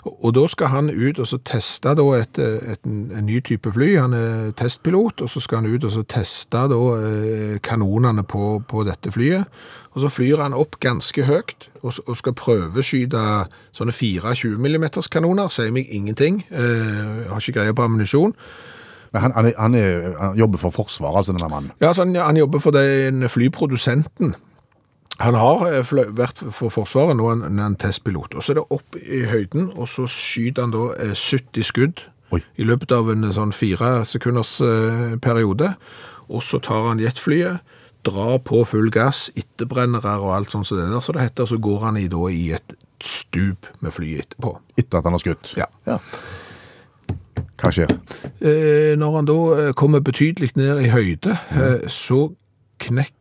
Speaker 3: Og, og da skal han ut og så teste da et, eh, et, en ny type fly. Han er testpilot, og så skal han ut og så teste da eh, kanonene på, på dette flyet. Og så flyr han opp ganske høyt og, s- og skal prøveskyte sånne 24 mm kanoner. Sier meg ingenting. Eh, har ikke greie på ammunisjon.
Speaker 2: Men han, han, er, han, er, han jobber for Forsvaret, altså, denne mannen.
Speaker 3: Ja, så han, han jobber for den flyprodusenten. Han har eh, flø- vært for Forsvaret nå en, en testpilot. Og så er det opp i høyden, og så skyter han da eh, 70 skudd
Speaker 2: Oi.
Speaker 3: i løpet av en sånn fire sekunders eh, periode. Og så tar han jetflyet, drar på full gass, etterbrennere og alt sånt som det der. Så det heter, så går han i, da i et stup med flyet etterpå.
Speaker 2: Etter at han har skutt.
Speaker 3: Ja.
Speaker 2: Hva skjer?
Speaker 3: Eh, når han da eh, kommer betydelig ned i høyde, eh, så knekker,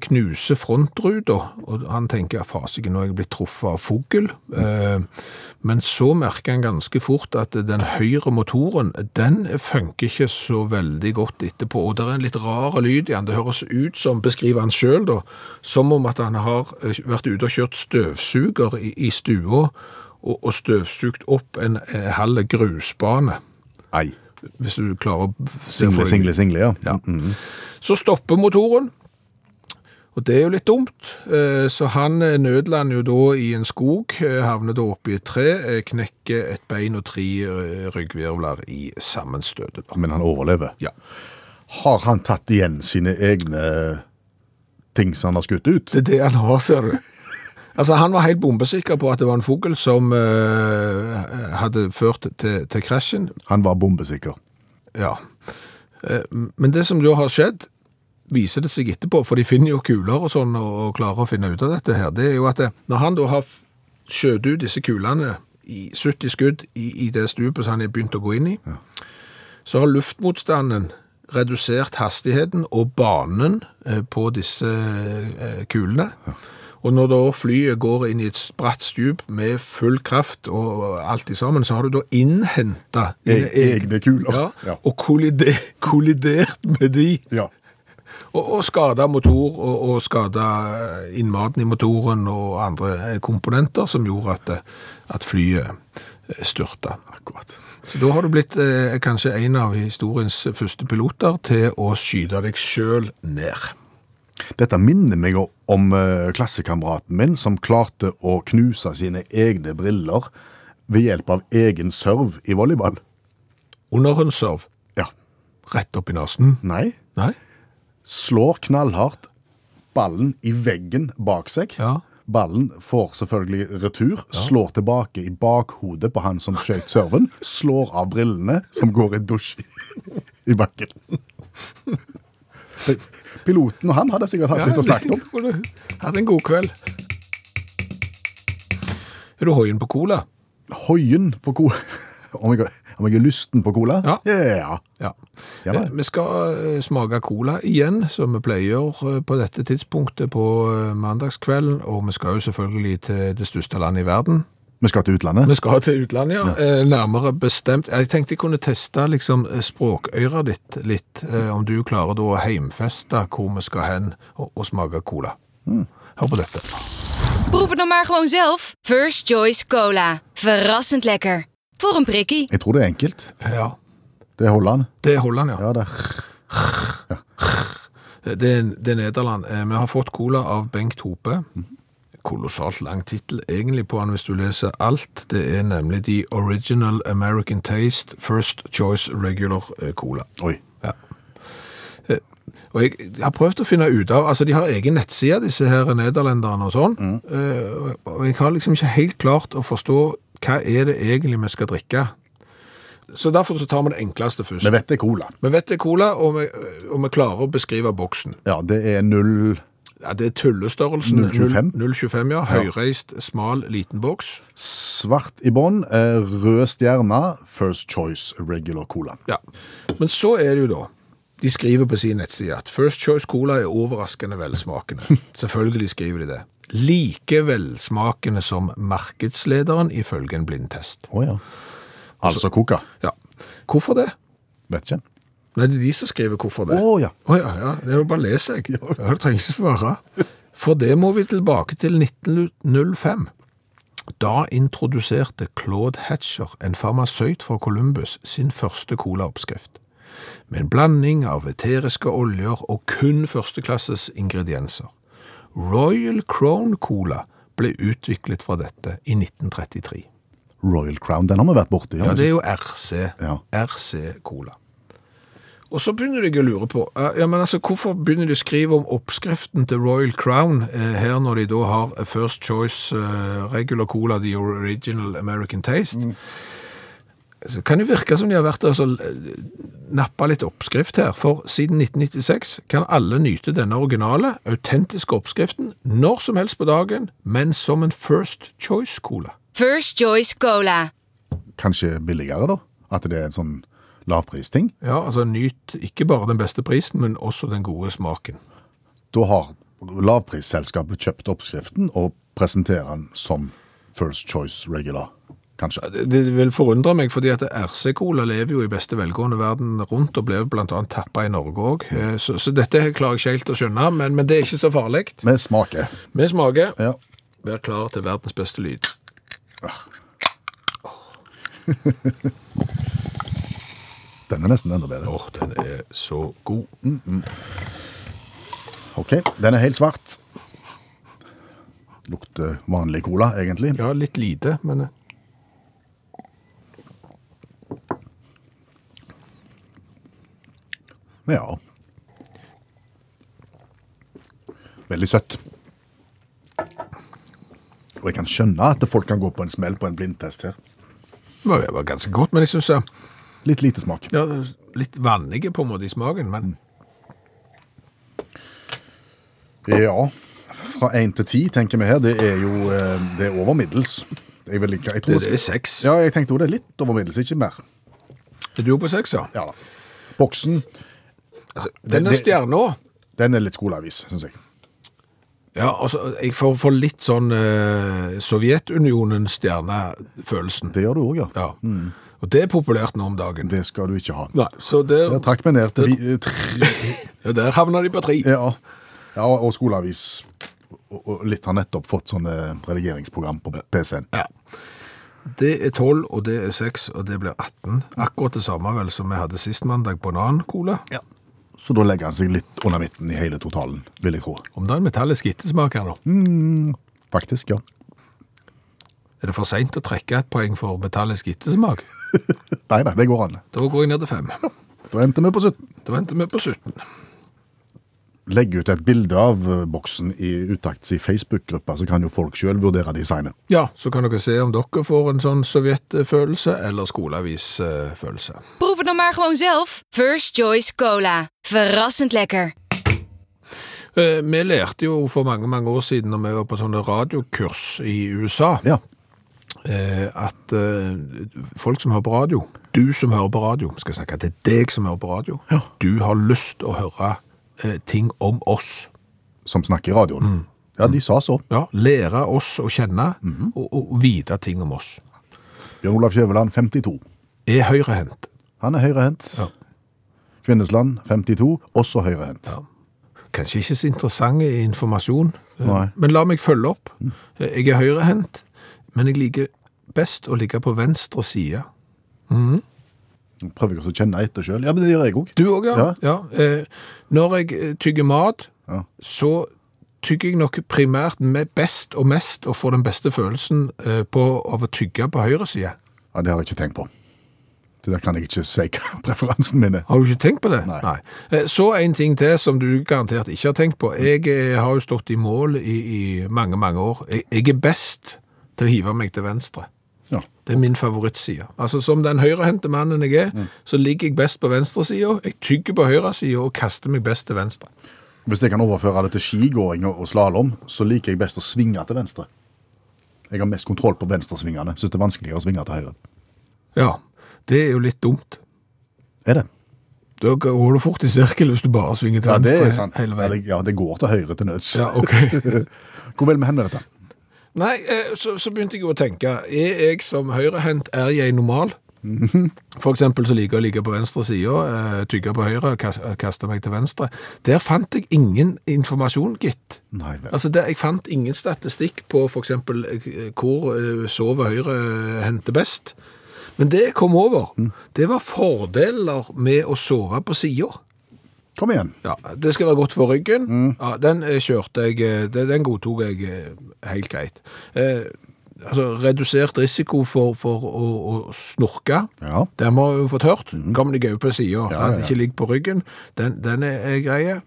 Speaker 3: knuser frontruta, og han tenker, fasiken, nå er jeg blitt truffet av fogel. Eh, men så merker han ganske fort at den høyre motoren, den funker ikke så veldig godt etterpå, og det er en litt rar lyd i han. Det høres ut som, beskriver han selv da, som om at han har eh, vært ute og kjørt støvsuger i, i stua, og, og støvsugt opp en, en halv grusbane
Speaker 2: Ei.
Speaker 3: hvis du klarer å se for
Speaker 2: Single,
Speaker 3: deg.
Speaker 2: single, single, ja. Mm.
Speaker 3: Så stopper motoren, og det er jo litt dumt. Eh, Så han eh, nødlander jo da i en skog, eh, havner da oppi et tre, eh, knekker et bein og tre eh, ryggvirvler i sammenstøtet. da.
Speaker 2: mm. Men han overlever.
Speaker 3: Ja.
Speaker 2: Har han tatt igjen sine egne ting som han har skutt ut?
Speaker 3: Det er det han har, ser du. Altså, Han var helt bombesikker på at det var en fugl som eh, hadde ført til, til krasjen.
Speaker 2: Han var bombesikker.
Speaker 3: Ja. Eh, Men det som da har skjedd, viser det seg etterpå, for de finner jo kuler og sånn og og klarer å finne ut av dette her, det er jo at det, når han da har f- skjøt ut disse kulene i 70 skudd i, i det stupet som han er begynt å gå inn i, så har luftmotstanden redusert hastigheten og banen eh, på disse eh, kulene. Og når da flyet går inn i et bratt stup med full kraft og alt i sammen, så har du da innhentet dine
Speaker 2: E- egne kuler.
Speaker 3: Ja,
Speaker 2: Ja.
Speaker 3: og kollider, kollidert med de,
Speaker 2: Ja.
Speaker 3: og, og skada motor, og, og skada eh, innmaten i motoren og andre eh, komponenter som gjorde at, eh, at flyet eh, styrta.
Speaker 2: Akkurat.
Speaker 3: Så da har du blitt eh, kanskje en av historiens første piloter til å skyte deg sjøl ned.
Speaker 2: Dette minner meg o- om eh, klassekameraten min som klarte å knuse sine egne briller ved hjelp av egen serv i volleyball.
Speaker 3: Under en serv,
Speaker 2: Ja.
Speaker 3: rett opp i nesen.
Speaker 2: Nei.
Speaker 3: Nei?
Speaker 2: Slår knallhardt ballen i veggen bak seg.
Speaker 3: Ja.
Speaker 2: Ballen får selvfølgelig retur, slår tilbake i bakhodet på han som skjøt serven, slår av brillene, som går i dusj i- i bakken. Piloten og han hadde sikkert hatt litt å snakke om.
Speaker 3: Ja, Hadde en god kveld. Er du hoien på cola?
Speaker 2: Hoien på cola om jeg, om jeg er lysten på cola?
Speaker 3: Ja.
Speaker 2: ja.
Speaker 3: Ja.
Speaker 2: Ja, da.
Speaker 3: Eh, Vi skal eh, smake cola igjen, som vi pleier eh, på dette tidspunktet på eh, mandagskvelden. Og vi skal jo selvfølgelig til det største landet i verden.
Speaker 2: Vi skal til
Speaker 3: Vi
Speaker 2: utlandet.
Speaker 3: skal til utlandet, ja. Eh, Nærmere bestemt. Jeg tenkte jeg kunne teste liksom, eh, språkøyra ditt litt. eh, Om du klarer da å heimfeste hvor vi skal hen og, og smake cola.
Speaker 2: Mm.
Speaker 3: Hør på dette.
Speaker 6: Proef het dan maar gewoon zelf. First Choice Cola. Verrassend lekker. Voor een prikkie.
Speaker 2: Jeg tror det er enkelt.
Speaker 3: Ja,
Speaker 2: Det er Holland.
Speaker 3: det er Holland, ja.
Speaker 2: Ja, det.
Speaker 3: Det, er- det er Nederland. Eh, Vi har fått cola av Bengt Hope. Kolossalt lang titel egentlig på han hvis du leser alt. Det er nemlig The Original American Taste First Choice Regular eh, Cola.
Speaker 2: Oi.
Speaker 3: Og jeg jeg har prøvd å finne ut av, altså de har egen nettside, disse her nederlenderne og sånn, Eh, og jeg har liksom ikke helt klart å forstå hva er det egentlig vi skal drikke. Så derfor så tar vi det enkleste først.
Speaker 2: Vi vet det er cola.
Speaker 3: Vi vet det er cola, og vi, og vi klarer å beskrive boksen.
Speaker 2: Ja, det er null
Speaker 3: Ja, det er tullestørrelsen.
Speaker 2: 0,25?
Speaker 3: 0,25, ja. Høyreist, smal, liten boks.
Speaker 2: svart i bånn, eh, rød stjerne, first choice regular cola.
Speaker 3: Ja. Men så er det jo da De skriver på sin nettside at First Choice Cola er overraskende velsmakende. Selvfølgelig skriver de det. Like velsmakende som markedslederen, ifølge en blindtest.
Speaker 2: Å ja. Altså coca.
Speaker 3: Ja. Hvorfor det?
Speaker 2: Vet ikke.
Speaker 3: Nei, det er de som skriver hvorfor det.
Speaker 2: Å ja.
Speaker 3: Å ja, ja. Det er jo bare å lese, jeg. Ja, du trenger ikke svare. For det må vi tilbake til 1905. Da introduserte Claude Hatcher, en farmasøyt fra Columbus, sin første colaoppskrift. Med en blanding av eteriske oljer og kun førsteklasses ingredienser. Royal Crown Cola ble utviklet fra dette i 1933.
Speaker 2: Royal Crown, den har vi vært borti.
Speaker 3: Ja,
Speaker 2: har vi
Speaker 3: det
Speaker 2: ikke?
Speaker 3: er jo RC.
Speaker 2: Ja.
Speaker 3: RC Cola. Og så begynner jeg å lure på, eh, ja, men altså, hvorfor begynner de å skrive om oppskriften til Royal Crown eh, her når de da har First Choice eh, Regular Cola, The Original American Taste? Så kan det virke som de har vært der og så, eh, nappa litt oppskrift her, for siden 1996 kan alle nyte denne originale, autentiske oppskriften når som helst på dagen, men som en First Choice Cola.
Speaker 6: First Choice Cola.
Speaker 2: Kanskje billigere, da? At det er en sånn lavpristing?
Speaker 3: Ja, altså nyt ikke bare den beste prisen, men også den gode smaken.
Speaker 2: Da har lavprisselskapet kjøpt oppskriften og presenterer den som first choice regular, kanskje.
Speaker 3: Det, det vil forundre meg, fordi at RC-cola lever jo i beste velgående verden rundt, og ble blant annet tappa i Norge òg. Så, så dette klarer jeg ikke helt å skjønne, men, men det er ikke så farlig.
Speaker 2: Med smaker.
Speaker 3: Vi smaker.
Speaker 2: Ja.
Speaker 3: Vær klar til verdens beste lyd.
Speaker 2: Den er nesten enda bedre. Mm,
Speaker 3: Åh, den er så god.
Speaker 2: Ok, Den er helt svart. Lukter vanlig cola, egentlig.
Speaker 3: Ja, litt lite, men eh,
Speaker 2: Ja. Veldig søtt. Og jeg kan skjønne at folk kan gå på en smell på en blindtest her.
Speaker 3: det var, det var ganske godt. Men jeg syns ja,
Speaker 2: Litt lite smak.
Speaker 3: Litt vannige på en måte i smaken, men
Speaker 2: Ja, fra én til ti, tenker vi her. Det er jo eh, det er over middels. Jeg, vil ikke, jeg, tror
Speaker 3: det,
Speaker 2: vi
Speaker 3: det
Speaker 2: skal-
Speaker 3: er
Speaker 2: Mm.
Speaker 3: seks.
Speaker 2: ja, jeg tenkte jo det er litt over middels, ikke mer.
Speaker 3: Er du på seks, ja?
Speaker 2: Ja da. Boksen,
Speaker 3: Altså,
Speaker 2: Det-
Speaker 3: den er
Speaker 2: det-
Speaker 3: stjerna.
Speaker 2: den er litt skoleavis, syns jeg.
Speaker 3: Ja, altså, jeg får, får litt sånn eh, Sovjetunionen-stjernefølelsen.
Speaker 2: Det gjør du òg, ja.
Speaker 3: Ja. Og det er populært nå om dagen.
Speaker 2: Mm. Det skal du ikke ha.
Speaker 3: Nei, så der,
Speaker 2: Jeg trakk meg ned til vi- eh, tre
Speaker 3: ja, der havner de på tre.
Speaker 2: Ja, ja og og skoleavis. Og- Og litt har nettopp fått sånne redigeringsprogram på PC-en.
Speaker 3: Ja. Det er 12, og det er 6, og det blir 18. Akkurat det samme vel som vi hadde sist mandag, banan-cola.
Speaker 2: Så da legger han seg litt under midten i hele totalen, vil jeg tro.
Speaker 3: Om det er en metallisk ettersmak her nå.
Speaker 2: Mm. Faktisk, ja.
Speaker 3: Er det for sent å trekke et poeng for metallisk ettersmak?
Speaker 2: Nei, nei, det går an.
Speaker 3: Da går jeg ned til 5.
Speaker 2: Da endte vi på 17.
Speaker 3: Da venter vi på 17.
Speaker 2: Legg ut et bilde av eh, boksen i Utakts i Facebook-gruppa, så kan jo folk sjøl vurdere designet.
Speaker 3: Ja, så kan dere se om dere får en sånn sovjetfølelse eller skoleavisfølelse.
Speaker 6: Proef het dan maar gewoon zelf. First Choice Cola. Verrassend lekker.
Speaker 3: Eh, Vi lærte jo for mange, mange år siden når vi var på sånne radiokurs i USA,
Speaker 2: Ja.
Speaker 3: eh, at eh, folk som hører på radio, du som hører på radio, skal jeg snakke til deg som hører på radio, du har lyst til å høre eh, ting om oss.
Speaker 2: Som snakker i radioen. Ja, de sa så.
Speaker 3: Ja, Mhm. lære oss å kjenne og, og vite ting om oss.
Speaker 2: Bjørn Olav Skjæveland, 52.
Speaker 3: Er høyrehendt.
Speaker 2: Han er høyrehendt.
Speaker 3: Ja.
Speaker 2: Kvinnesland, 52. Også høyrehendt.
Speaker 3: Kanskje ikke så interessant informasjon, eh,
Speaker 2: Nei. Mm.
Speaker 3: men la meg følge opp. Eh, Jeg er høyrehendt, men jeg liker best å ligge på venstre side.
Speaker 2: Nå Prøver jeg også å kjenne etter sjøl. Ja, men det gjør jeg òg.
Speaker 3: Du òg, ja.
Speaker 2: Ja.
Speaker 3: ja. eh, Når jeg eh, tygger mat,
Speaker 2: Ja.
Speaker 3: så tygger jeg nok primært med best og mest, og får den beste følelsen eh, på, av å tygge på høyre side.
Speaker 2: Ja, det har jeg ikke tenkt på. Det der kan jeg ikke si hva preferansen min er.
Speaker 3: Har du ikke tenkt på det?
Speaker 2: Nei.
Speaker 3: Eh, Så en ting til som du garantert ikke har tenkt på. Jeg eh, har jo stått i mål i, i mange, mange år. Jeg, jeg er best til å hive meg til venstre.
Speaker 2: Ja.
Speaker 3: Det er min favorittside. Altså, som den høyrehendte mannen jeg er,
Speaker 2: Mm.
Speaker 3: så ligger jeg best på venstresida. Jeg tygger på høyresida og kaster meg best til venstre.
Speaker 2: Hvis jeg kan overføre det til skigåing og slalåm, så liker jeg best å svinge til venstre. Jeg har mest kontroll på venstresvingene. Syns det er vanskeligere å svinge til høyre.
Speaker 3: Ja, det er jo litt dumt.
Speaker 2: Er det?
Speaker 3: Da går du fort i sirkel hvis du bare svinger til
Speaker 2: Ja, det
Speaker 3: venstre
Speaker 2: er sant. Ja,
Speaker 3: hele veien.
Speaker 2: det- ja, det går til høyre til nøds.
Speaker 3: Ja, ok.
Speaker 2: Hvor vil vi hen med dette?
Speaker 3: Nei, eh, så, så begynte jeg jo å tenke, er jeg som høyrehendt, er jeg normal? For eksempel så liker jeg å ligge på venstre siden, eh, tygge på høyre, kas- eh, kaste meg til venstre. Der fant jeg ingen informasjon, gitt.
Speaker 2: Nei vel.
Speaker 3: Altså, der, jeg fant ingen statistikk på for eksempel eh, hvor eh, sover høyrehendte best. Men det jeg kom over, det var fordeler med å sove på siden.
Speaker 2: Kom igjen.
Speaker 3: Ja, det skal være godt for ryggen. Ja, den eh, kjørte jeg, eh, den, den godtok jeg eh, helt greit. Eh, altså, redusert risiko for, for å, å snorke.
Speaker 2: Ja.
Speaker 3: Den har vi fått hørt. Kom deg over på sida.
Speaker 2: Mm. Ja, ja,
Speaker 3: Den
Speaker 2: ja.
Speaker 3: ikke ligger på ryggen. Den, den er, er greie.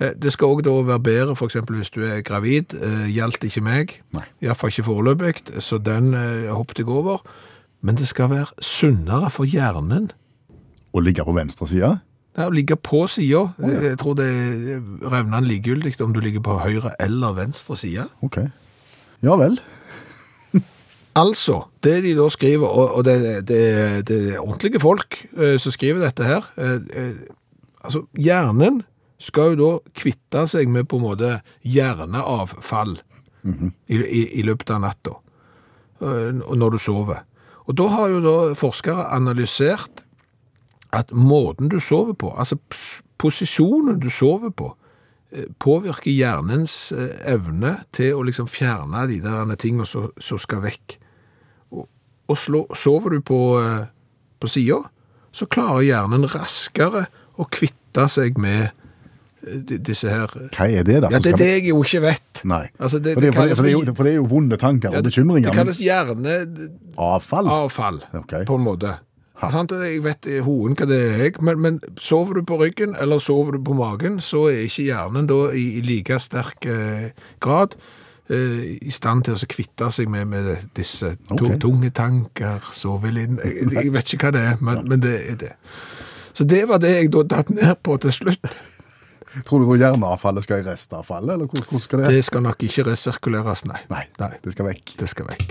Speaker 3: Eh, Det skal òg da være bedre f.eks. hvis du er gravid. Eh, Gjaldt ikke meg.
Speaker 2: Nei.
Speaker 3: Iallfall ikke foreløpig, så den eh, hoppet jeg over. Men det skal være sunnere for hjernen.
Speaker 2: Å ligge på venstre side?
Speaker 3: Ja, å ligge på sida. Jeg tror det er revnende likegyldig om du ligger på høyre eller venstre side.
Speaker 2: Ok. Ja vel.
Speaker 3: Altså, det de da skriver, og, og det, det, det er ordentlige folk eh, som skriver dette her eh, eh, Altså, hjernen skal jo da kvitte seg med på en måte hjerneavfall i, i, i løpet av natta eh, og når du sover. Og da har jo da forskere analysert at måten du sover på, altså pos- posisjonen du sover på, eh, påvirker hjernens eh, evne til å liksom fjerne de der tingene som som skal vekk. Og, og slå, sover du på, eh, på sida, så klarer hjernen raskere å kvitte seg med eh, di- disse her
Speaker 2: Hva er det, da?
Speaker 3: Ja,
Speaker 2: som
Speaker 3: det er
Speaker 2: skal-
Speaker 3: det jeg jo ikke vet.
Speaker 2: Nei.
Speaker 3: Altså, det-
Speaker 2: for, det,
Speaker 3: det
Speaker 2: for, det, for, det er jo,
Speaker 3: kalles-
Speaker 2: for det er jo vonde tanker og
Speaker 3: Ja, det-
Speaker 2: bekymringer.
Speaker 3: Det
Speaker 2: men
Speaker 3: kalles hjerne
Speaker 2: avfall?
Speaker 3: avfall,
Speaker 2: Ok.
Speaker 3: på en måte. Sant? Jeg vet i hoen hva det er, jeg, men, men sover du på ryggen eller sover du på magen, så er ikke hjernen da i, i like sterk eh, grad eh, i stand til å så kvitte seg med, med disse tu-
Speaker 2: Ok.
Speaker 3: tunge tanker, sovelind jeg, jeg vet ikke hva det er, men, men det er det. Så det var det jeg da datt ned på til slutt.
Speaker 2: Tror du da hjerneavfallet skal i restavfallet, eller hvor, hvor skal det?
Speaker 3: Det skal nok ikke resirkuleres, nei.
Speaker 2: Nei, det skal vekk.
Speaker 3: Det skal vekk.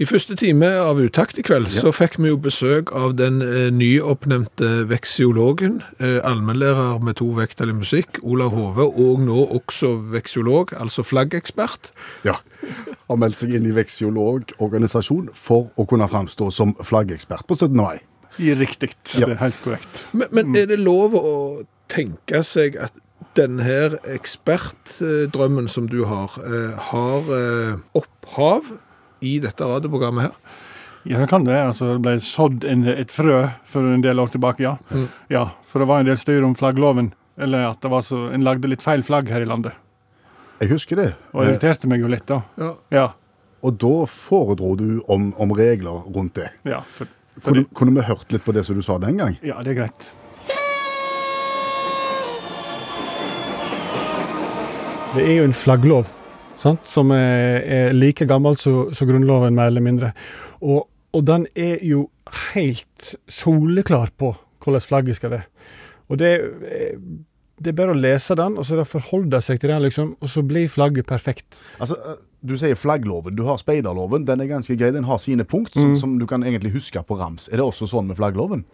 Speaker 3: I første time av Utakt i kveld så fikk vi jo besøk av den eh, nyoppnevnte veksiologen, eh, allmennlærer med to vekttall i musikk, Olav Hove, og nå også veksiolog, altså flaggekspert.
Speaker 2: Ja. Har meldt seg inn i veksiologorganisasjon for å kunne framstå som flaggekspert på 17. mai.
Speaker 5: I riktig.
Speaker 2: Ja.
Speaker 5: Det er helt korrekt.
Speaker 3: Men, men er det lov å tenke seg at denne her ekspertdrømmen som du har, eh, har eh, opphav i dette radioprogrammet her?
Speaker 5: Ja, det kan det. Altså, det ble sådd en, et frø for en del år tilbake, ja. ja. For det var en del styr om flaggloven. Eller at det var så, en lagde litt feil flagg her i landet.
Speaker 2: Jeg husker det.
Speaker 5: Og det
Speaker 2: Eh,
Speaker 5: irriterte meg jo litt, da.
Speaker 3: Ja.
Speaker 5: Ja.
Speaker 2: Og da foredro du om, om regler rundt det.
Speaker 5: ja, for,
Speaker 2: Kunne,
Speaker 5: fordi,
Speaker 2: kunne vi hørt litt på det som du sa den gang?
Speaker 5: ja det er greit.
Speaker 7: Det er jo en flagglov sant? som er, er like gammel som som Grunnloven, mer eller mindre. Og, og den er jo helt soleklar på hvordan flagget skal være. Og det eh,
Speaker 5: Det er bare å lese den, og så da forholde seg til den, liksom, og så blir flagget perfekt.
Speaker 2: Altså, eh, du sier flaggloven, du har speiderloven. Den er ganske grei. Den har sine punkt som, som du kan egentlig huske på rams. Er det også sånn med flaggloven?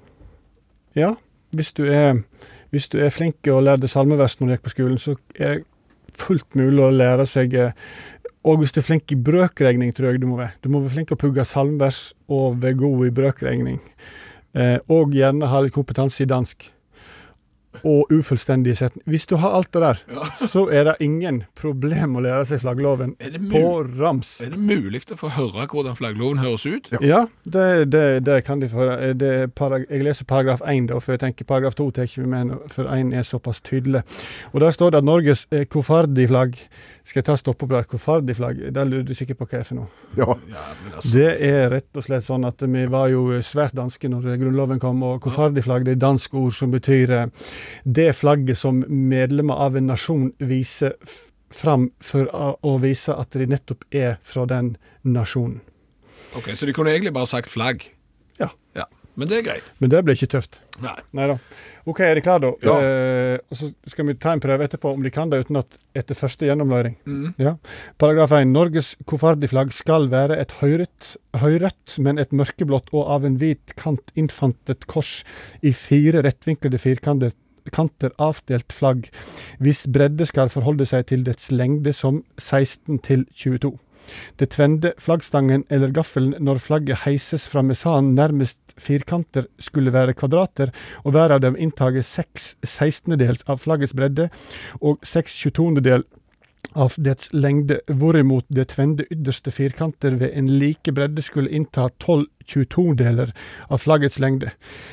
Speaker 5: Ja, hvis du er, hvis du er flink og lærte salmevers når du gikk på skolen, så er det fullt mulig å lære seg eh, Og hvis du er flink i brøkregning, tror jeg du må være. Du må være flink å pugge salmevers og være god i brøkregning. Eh, og gjerne ha litt kompetanse i dansk. Og ufullstendige setninger. Hvis du har alt det der, så er det ingen problem å lære seg flaggloven
Speaker 3: Er det mul-
Speaker 5: på rams.
Speaker 3: Er det mulig å få høre hvordan flaggloven høres ut?
Speaker 5: Ja, det, det, det kan de få høre. Det er parag jeg leser paragraf 1, da, for jeg tenker paragraf 2 tar ikke vi med, nå, for 1 er såpass tydelig. Og Der står det at Norges eh, kofardi-flagg Skal jeg ta stoppeplar? Kofardi-flagg, det lurer du sikkert på hva er for noe.
Speaker 2: Ja.
Speaker 5: Det er rett og slett sånn at vi var jo svært danske når Grunnloven kom, og kofardi-flagg det er dansk ord som betyr eh, det flagget som medlemmer av en nasjon viser f- fram for å å vise at de nettopp er fra den nasjonen.
Speaker 3: Ok, Så de kunne egentlig bare sagt flagg.
Speaker 5: Ja.
Speaker 3: Ja, Men det er greit.
Speaker 5: Men det ble ikke tøft.
Speaker 3: Nei.
Speaker 5: Nei da. OK, er de klare, da?
Speaker 3: Ja.
Speaker 5: Eh, og så skal vi ta en prøve etterpå om de kan det uten at etter første gjennomløring. Ja. Paragraf 1. Norges kofardi-flagg skal være et høyrødt, høyrødt, men et mørkeblått og av en hvit kant innfantet kors i fire rettvinklede firkanter kanter avdelt flagg, hvis bredde skal forholde seg til dets lengde som 16 til 22. Det tvende flaggstangen eller gaffelen når flagget heises fra mesanen nærmest firkanter skulle være kvadrater, og hver av dem inntager seks sekstendedels av flaggets bredde og seks tjuetonedel av dets lengde, hvorimot det tvende ytterste firkanter ved en like bredde skulle innta tolv tjuetondeler av flaggets lengde.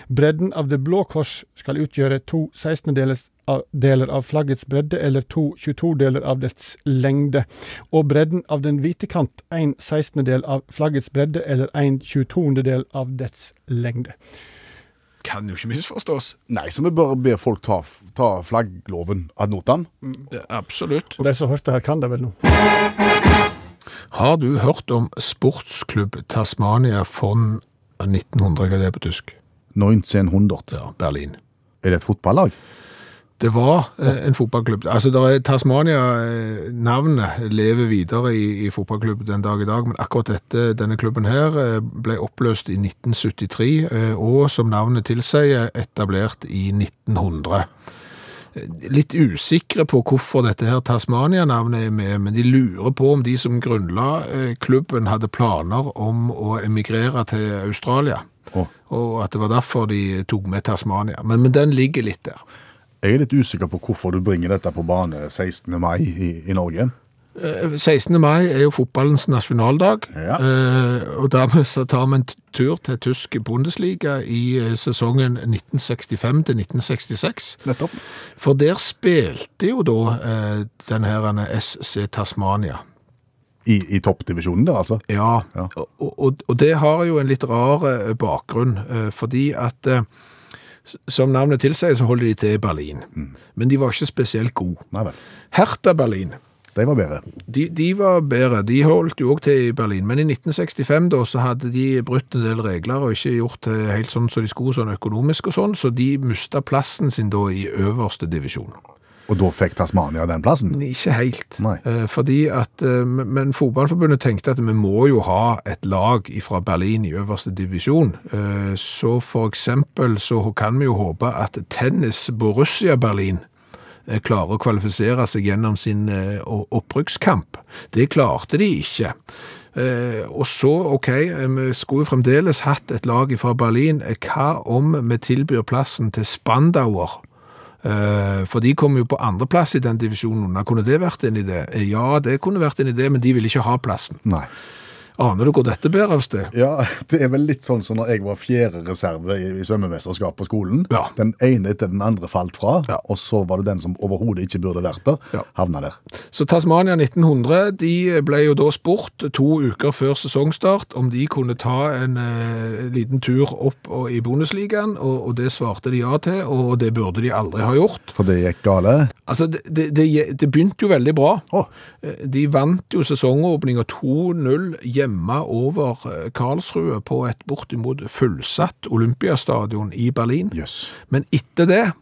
Speaker 5: Bredden av det blå kors skal utgjøre to sekstendedeler av, deler av flaggets bredde eller to 22-deler av dets lengde, og bredden av den hvite kant en sekstendedel av flaggets bredde eller en 22-del av dets lengde.
Speaker 3: Kan jo ikke misforstås.
Speaker 2: Nei, så vi bare ber folk ta, f- ta flaggloven ad notam.
Speaker 3: Det er absolutt.
Speaker 5: Og De som hørte her, kan det vel nå?
Speaker 3: Har du hørt om sportsklubb Tasmania von 1900, hva er det på tysk?
Speaker 2: 1900.
Speaker 3: Ja, Berlin.
Speaker 2: Er det et fotballag?
Speaker 3: Det var eh, en fotballklubb. Altså, der er Tasmania-navnet lever videre i, i fotballklubb den dag i dag, men akkurat dette, denne klubben her eh, ble oppløst i 1973, eh, og som navnet tilsier, etablert i 1900. Eh, Litt usikre på hvorfor dette her Tasmania-navnet er med, men de lurer på om de som grunnla eh, klubben hadde planer om å emigrere til Australia,
Speaker 2: Å.
Speaker 3: og at det var derfor de tok med Tasmania. Men, men den ligger litt der.
Speaker 2: Jeg er litt usikker på hvorfor du bringer dette på bane 16. mai i, i Norge.
Speaker 3: Eh, 16. mai er jo fotballens nasjonaldag,
Speaker 2: Ja.
Speaker 3: eh, og dermed så tar vi en t- tur til tysk Bundesliga i eh, sesongen 1965 til 1966.
Speaker 2: Nettopp.
Speaker 3: For der spilte jo da eh, den her eh, SC Tasmania.
Speaker 2: I, i toppdivisjonen der, altså.
Speaker 3: Ja,
Speaker 2: Ja.
Speaker 3: Og, og, og det har jo en litt rar eh, bakgrunn, eh, fordi at eh, s- som navnet tilsier, så holder de til i Berlin. Men de var ikke spesielt gode.
Speaker 2: Nei vel.
Speaker 3: Hertha Berlin
Speaker 2: De var bedre.
Speaker 3: De, de var bedre. De holdt jo òg til i Berlin. Men i 1965 da, så hadde de brutt en del regler og ikke gjort det helt sånn som de skulle sånn økonomisk og sånn, så de mista plassen sin da i øverste divisjon.
Speaker 2: Og da fikk Tasmania den plassen.
Speaker 3: Ikke helt.
Speaker 2: Nei.
Speaker 3: Eh, Fordi at, eh, men- men Fotballforbundet tenkte at vi må jo ha et lag fra Berlin i øverste divisjon. Eh, Så for eksempel så kan vi jo håpe at tennis Borussia Berlin eh, klarer å kvalifisere seg gjennom sin eh, o- opprykkskamp. Det klarte de ikke. Eh, og så, ok, eh, vi skulle jo fremdeles hatt et lag fra Berlin. Eh, Hva om vi tilbyr plassen til Spandauer? Eh, For de kom jo på andreplass i den divisjonen. Da kunne det vært en idé? Eh, Ja, det kunne vært en idé, men de ville ikke ha plassen.
Speaker 2: Nei.
Speaker 3: Aner du hvor dette bærer av sted?
Speaker 2: Ja, det er vel litt sånn som når jeg var fjerde reserve i, i svømmemesterskap på skolen.
Speaker 3: Ja.
Speaker 2: Den ene etter den andre falt fra,
Speaker 3: Ja.
Speaker 2: og så var det den som overhodet ikke burde vært der,
Speaker 3: Ja.
Speaker 2: havna der.
Speaker 3: Så Tasmania 1900 de ble jo da spurt to uker før sesongstart om de kunne ta en eh, liten tur opp og, i Bundesligaen, og, og det svarte de ja til, og det burde de aldri ha gjort.
Speaker 2: For det gikk gale.
Speaker 3: Altså, det, det, det, det begynte jo veldig bra.
Speaker 2: Å.
Speaker 3: Eh, De vant jo sesongåpninga 2-0 hjemme over eh, Karlsrue på et bortimot fullsatt Olympiastadion i Berlin.
Speaker 2: Jøss.
Speaker 3: Men etter det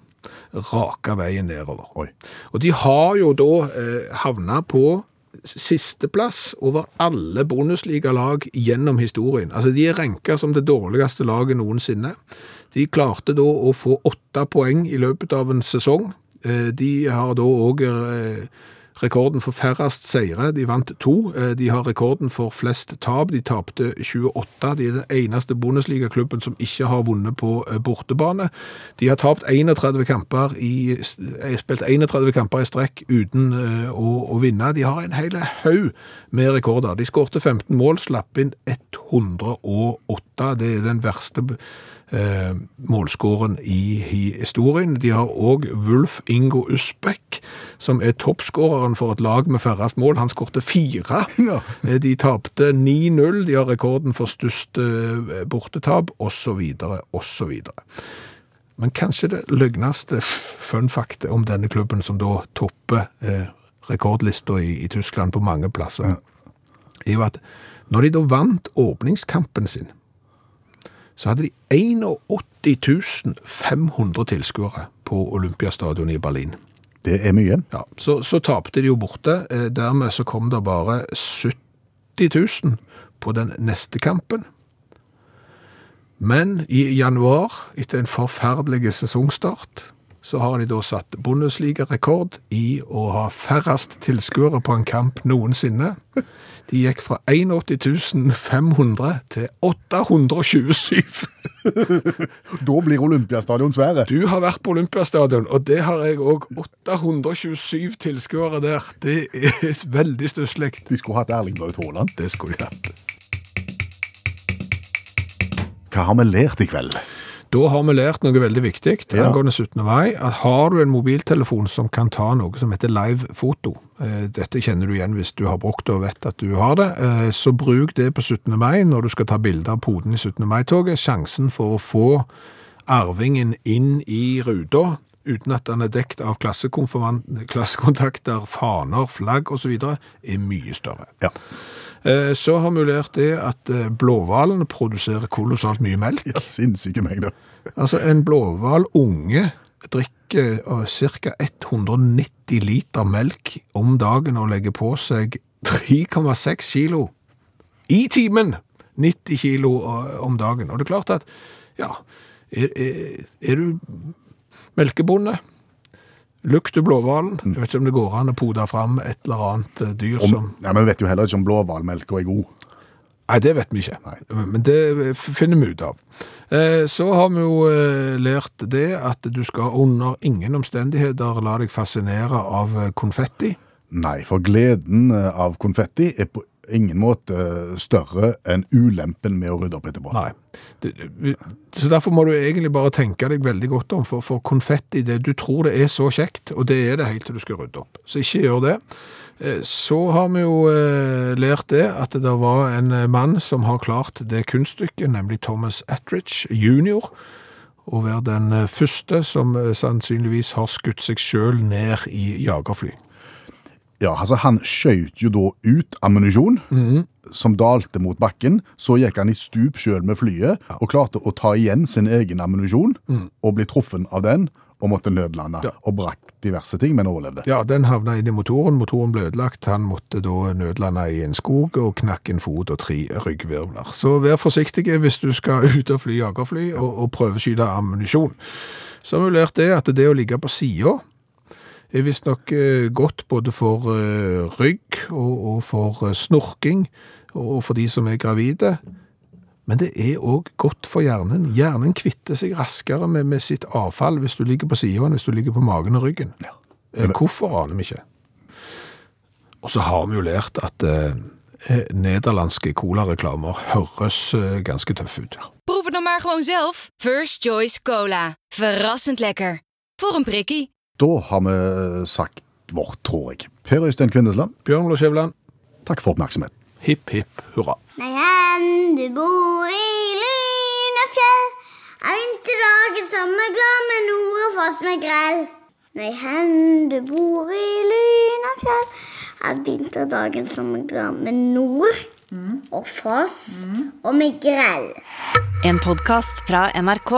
Speaker 3: raka veien nedover. Og de har jo da eh, havna på sisteplass over alle Bundesliga-lag gjennom historien. Altså, de er ranka som det dårligste laget noensinne. De klarte da å få åtte poeng i løpet av en sesong. Eh, De har da eh, òg rekorden for færrest seire. De vant to. Eh, De har rekorden for flest tap. De tapte 28. De er den eneste Bundesliga-klubben som ikke har vunnet på eh, bortebane. De har tapt 31 kamper i, eh, spilt 31 kamper i strekk uten eh, å, å vinne. De har en hel haug med rekorder. De skårte 15 mål, slapp inn 108. Det er den verste eh, målskåren i hi- historien. De har òg Wulf Ingo Usbekk, som er toppskåreren for et lag med færrest mål. Han skårte fire.
Speaker 2: Ja.
Speaker 3: Eh, De tapte 9-0. De har rekorden for størst eh, bortetap, osv., osv. Men kanskje det løgneste funfaktet om denne klubben, som da topper eh, rekordlista i, i Tyskland på mange plasser, er jo at når de da vant åpningskampen sin, så hadde de 81 500 tilskuere på Olympiastadionet i Berlin.
Speaker 2: Det er mye.
Speaker 3: Ja, så, så tapte de jo borte. Eh, Dermed så kom det bare 70 000 på den neste kampen. Men i januar, etter en forferdelig sesongstart, så har de da satt Bundesliga-rekord i å ha færrest tilskuere på en kamp noensinne. De gikk fra 81 500 til 827.
Speaker 2: Da blir Olympiastadion svære.
Speaker 3: Du har vært på Olympiastadion, og det har jeg òg. 827 tilskuere der. Det er veldig stusslig.
Speaker 2: De skulle hatt Erling Braut Haaland.
Speaker 3: Det skulle jeg hatt.
Speaker 2: Hva har vi lært i kveld?
Speaker 3: Da har vi lært noe veldig viktig
Speaker 2: Ja.
Speaker 3: angående 17. mai. At har du en mobiltelefon som kan ta noe som heter live foto, eh, dette kjenner du igjen hvis du har brukt det og vet at du har det, eh, så bruk det på 17. mai når du skal ta bilder av poden i 17. mai-toget. Sjansen for å få arvingen inn i ruta uten at den er dekt av klassekonfirmant- klassekontakter, faner, flagg osv., er mye større.
Speaker 2: Ja.
Speaker 3: Eh, Så har vi lært det at eh, blåhvalen produserer kolossalt mye melk.
Speaker 2: ja sinnssyke mengder.
Speaker 3: Altså, en blåhval unge drikker eh, ca. 190 liter melk om dagen og legger på seg 3,6 kilo i timen. 90 kilo eh, om dagen. Og det er klart at, ja, er, er, er du melkebonde, lukt du blåvalen, jeg vet ikke om det går an å pode fram et eller annet eh, dyr som...
Speaker 2: Om, ja, men vi vet jo heller ikke om blåhvalmelka er god.
Speaker 3: Nei, det vet vi ikke. Men det f- finner vi ut av. Eh, Så har vi jo eh, lært det at du skal under ingen omstendigheter la deg fascinere av eh, konfetti.
Speaker 2: Nei, for gleden eh, av konfetti er på ingen måte eh, større enn ulempen med å rydde opp etterpå.
Speaker 3: Nei. Det- det- Så derfor må du egentlig bare tenke deg veldig godt om, for, for konfetti det, Du tror det er så kjekt, og det er det helt til du skal rydde opp. Så ikke gjør det. Eh, Så har vi jo eh, lært det at det var en eh, mann som har klart det kunststykket, nemlig Thomas Attridge jr. Å være den eh, første som eh, sannsynligvis har skutt seg sjøl ned i jagerfly.
Speaker 2: Ja, altså Han skjøt jo da ut ammunisjon, som dalte mot bakken. Så gikk han i stup sjøl med flyet, og klarte å ta igjen sin egen ammunisjon. Og bli truffen av den, og måtte nødlande. Og brakk diverse ting, men overlevde.
Speaker 3: Ja, den havna inn i motoren. Motoren ble ødelagt. Han måtte da nødlande i en skog og knakk en fot og tre ryggvirvler. Så vær forsiktige hvis du skal ut og fly jagerfly og, og prøveskyte ammunisjon. Så har vi lært det at det å ligge på sida er visstnok eh, godt både for eh, rygg og, og for eh, snorking og for de som er gravide. Men det er òg godt for hjernen. Hjernen kvitter seg raskere med, med sitt avfall hvis du ligger på sida enn hvis du ligger på magen og ryggen. Eh, Hvorfor aner vi ikke. Og så har vi jo lært at eh, eh, nederlandske colareklamer høres eh, ganske tøffe ut.
Speaker 6: Proef het nou maar gewoon zelf. First Choice Cola. Verrassend lekker. Voor een prikkie.
Speaker 2: Da har vi sagt vårt, tror jeg. Per Øystein Kvindesland,
Speaker 3: Bjørn Skjæveland,
Speaker 2: takk for oppmerksomhet.
Speaker 3: hipp hipp hurra.
Speaker 8: Nei, hen du bor i Lynefjell, er vinterdagen sommerglad med nord og fast med grell. Nei, hen du bor i Lynefjell, er vinterdagen sommerglad med nord og fast og med grell.
Speaker 1: En podkast fra NRK.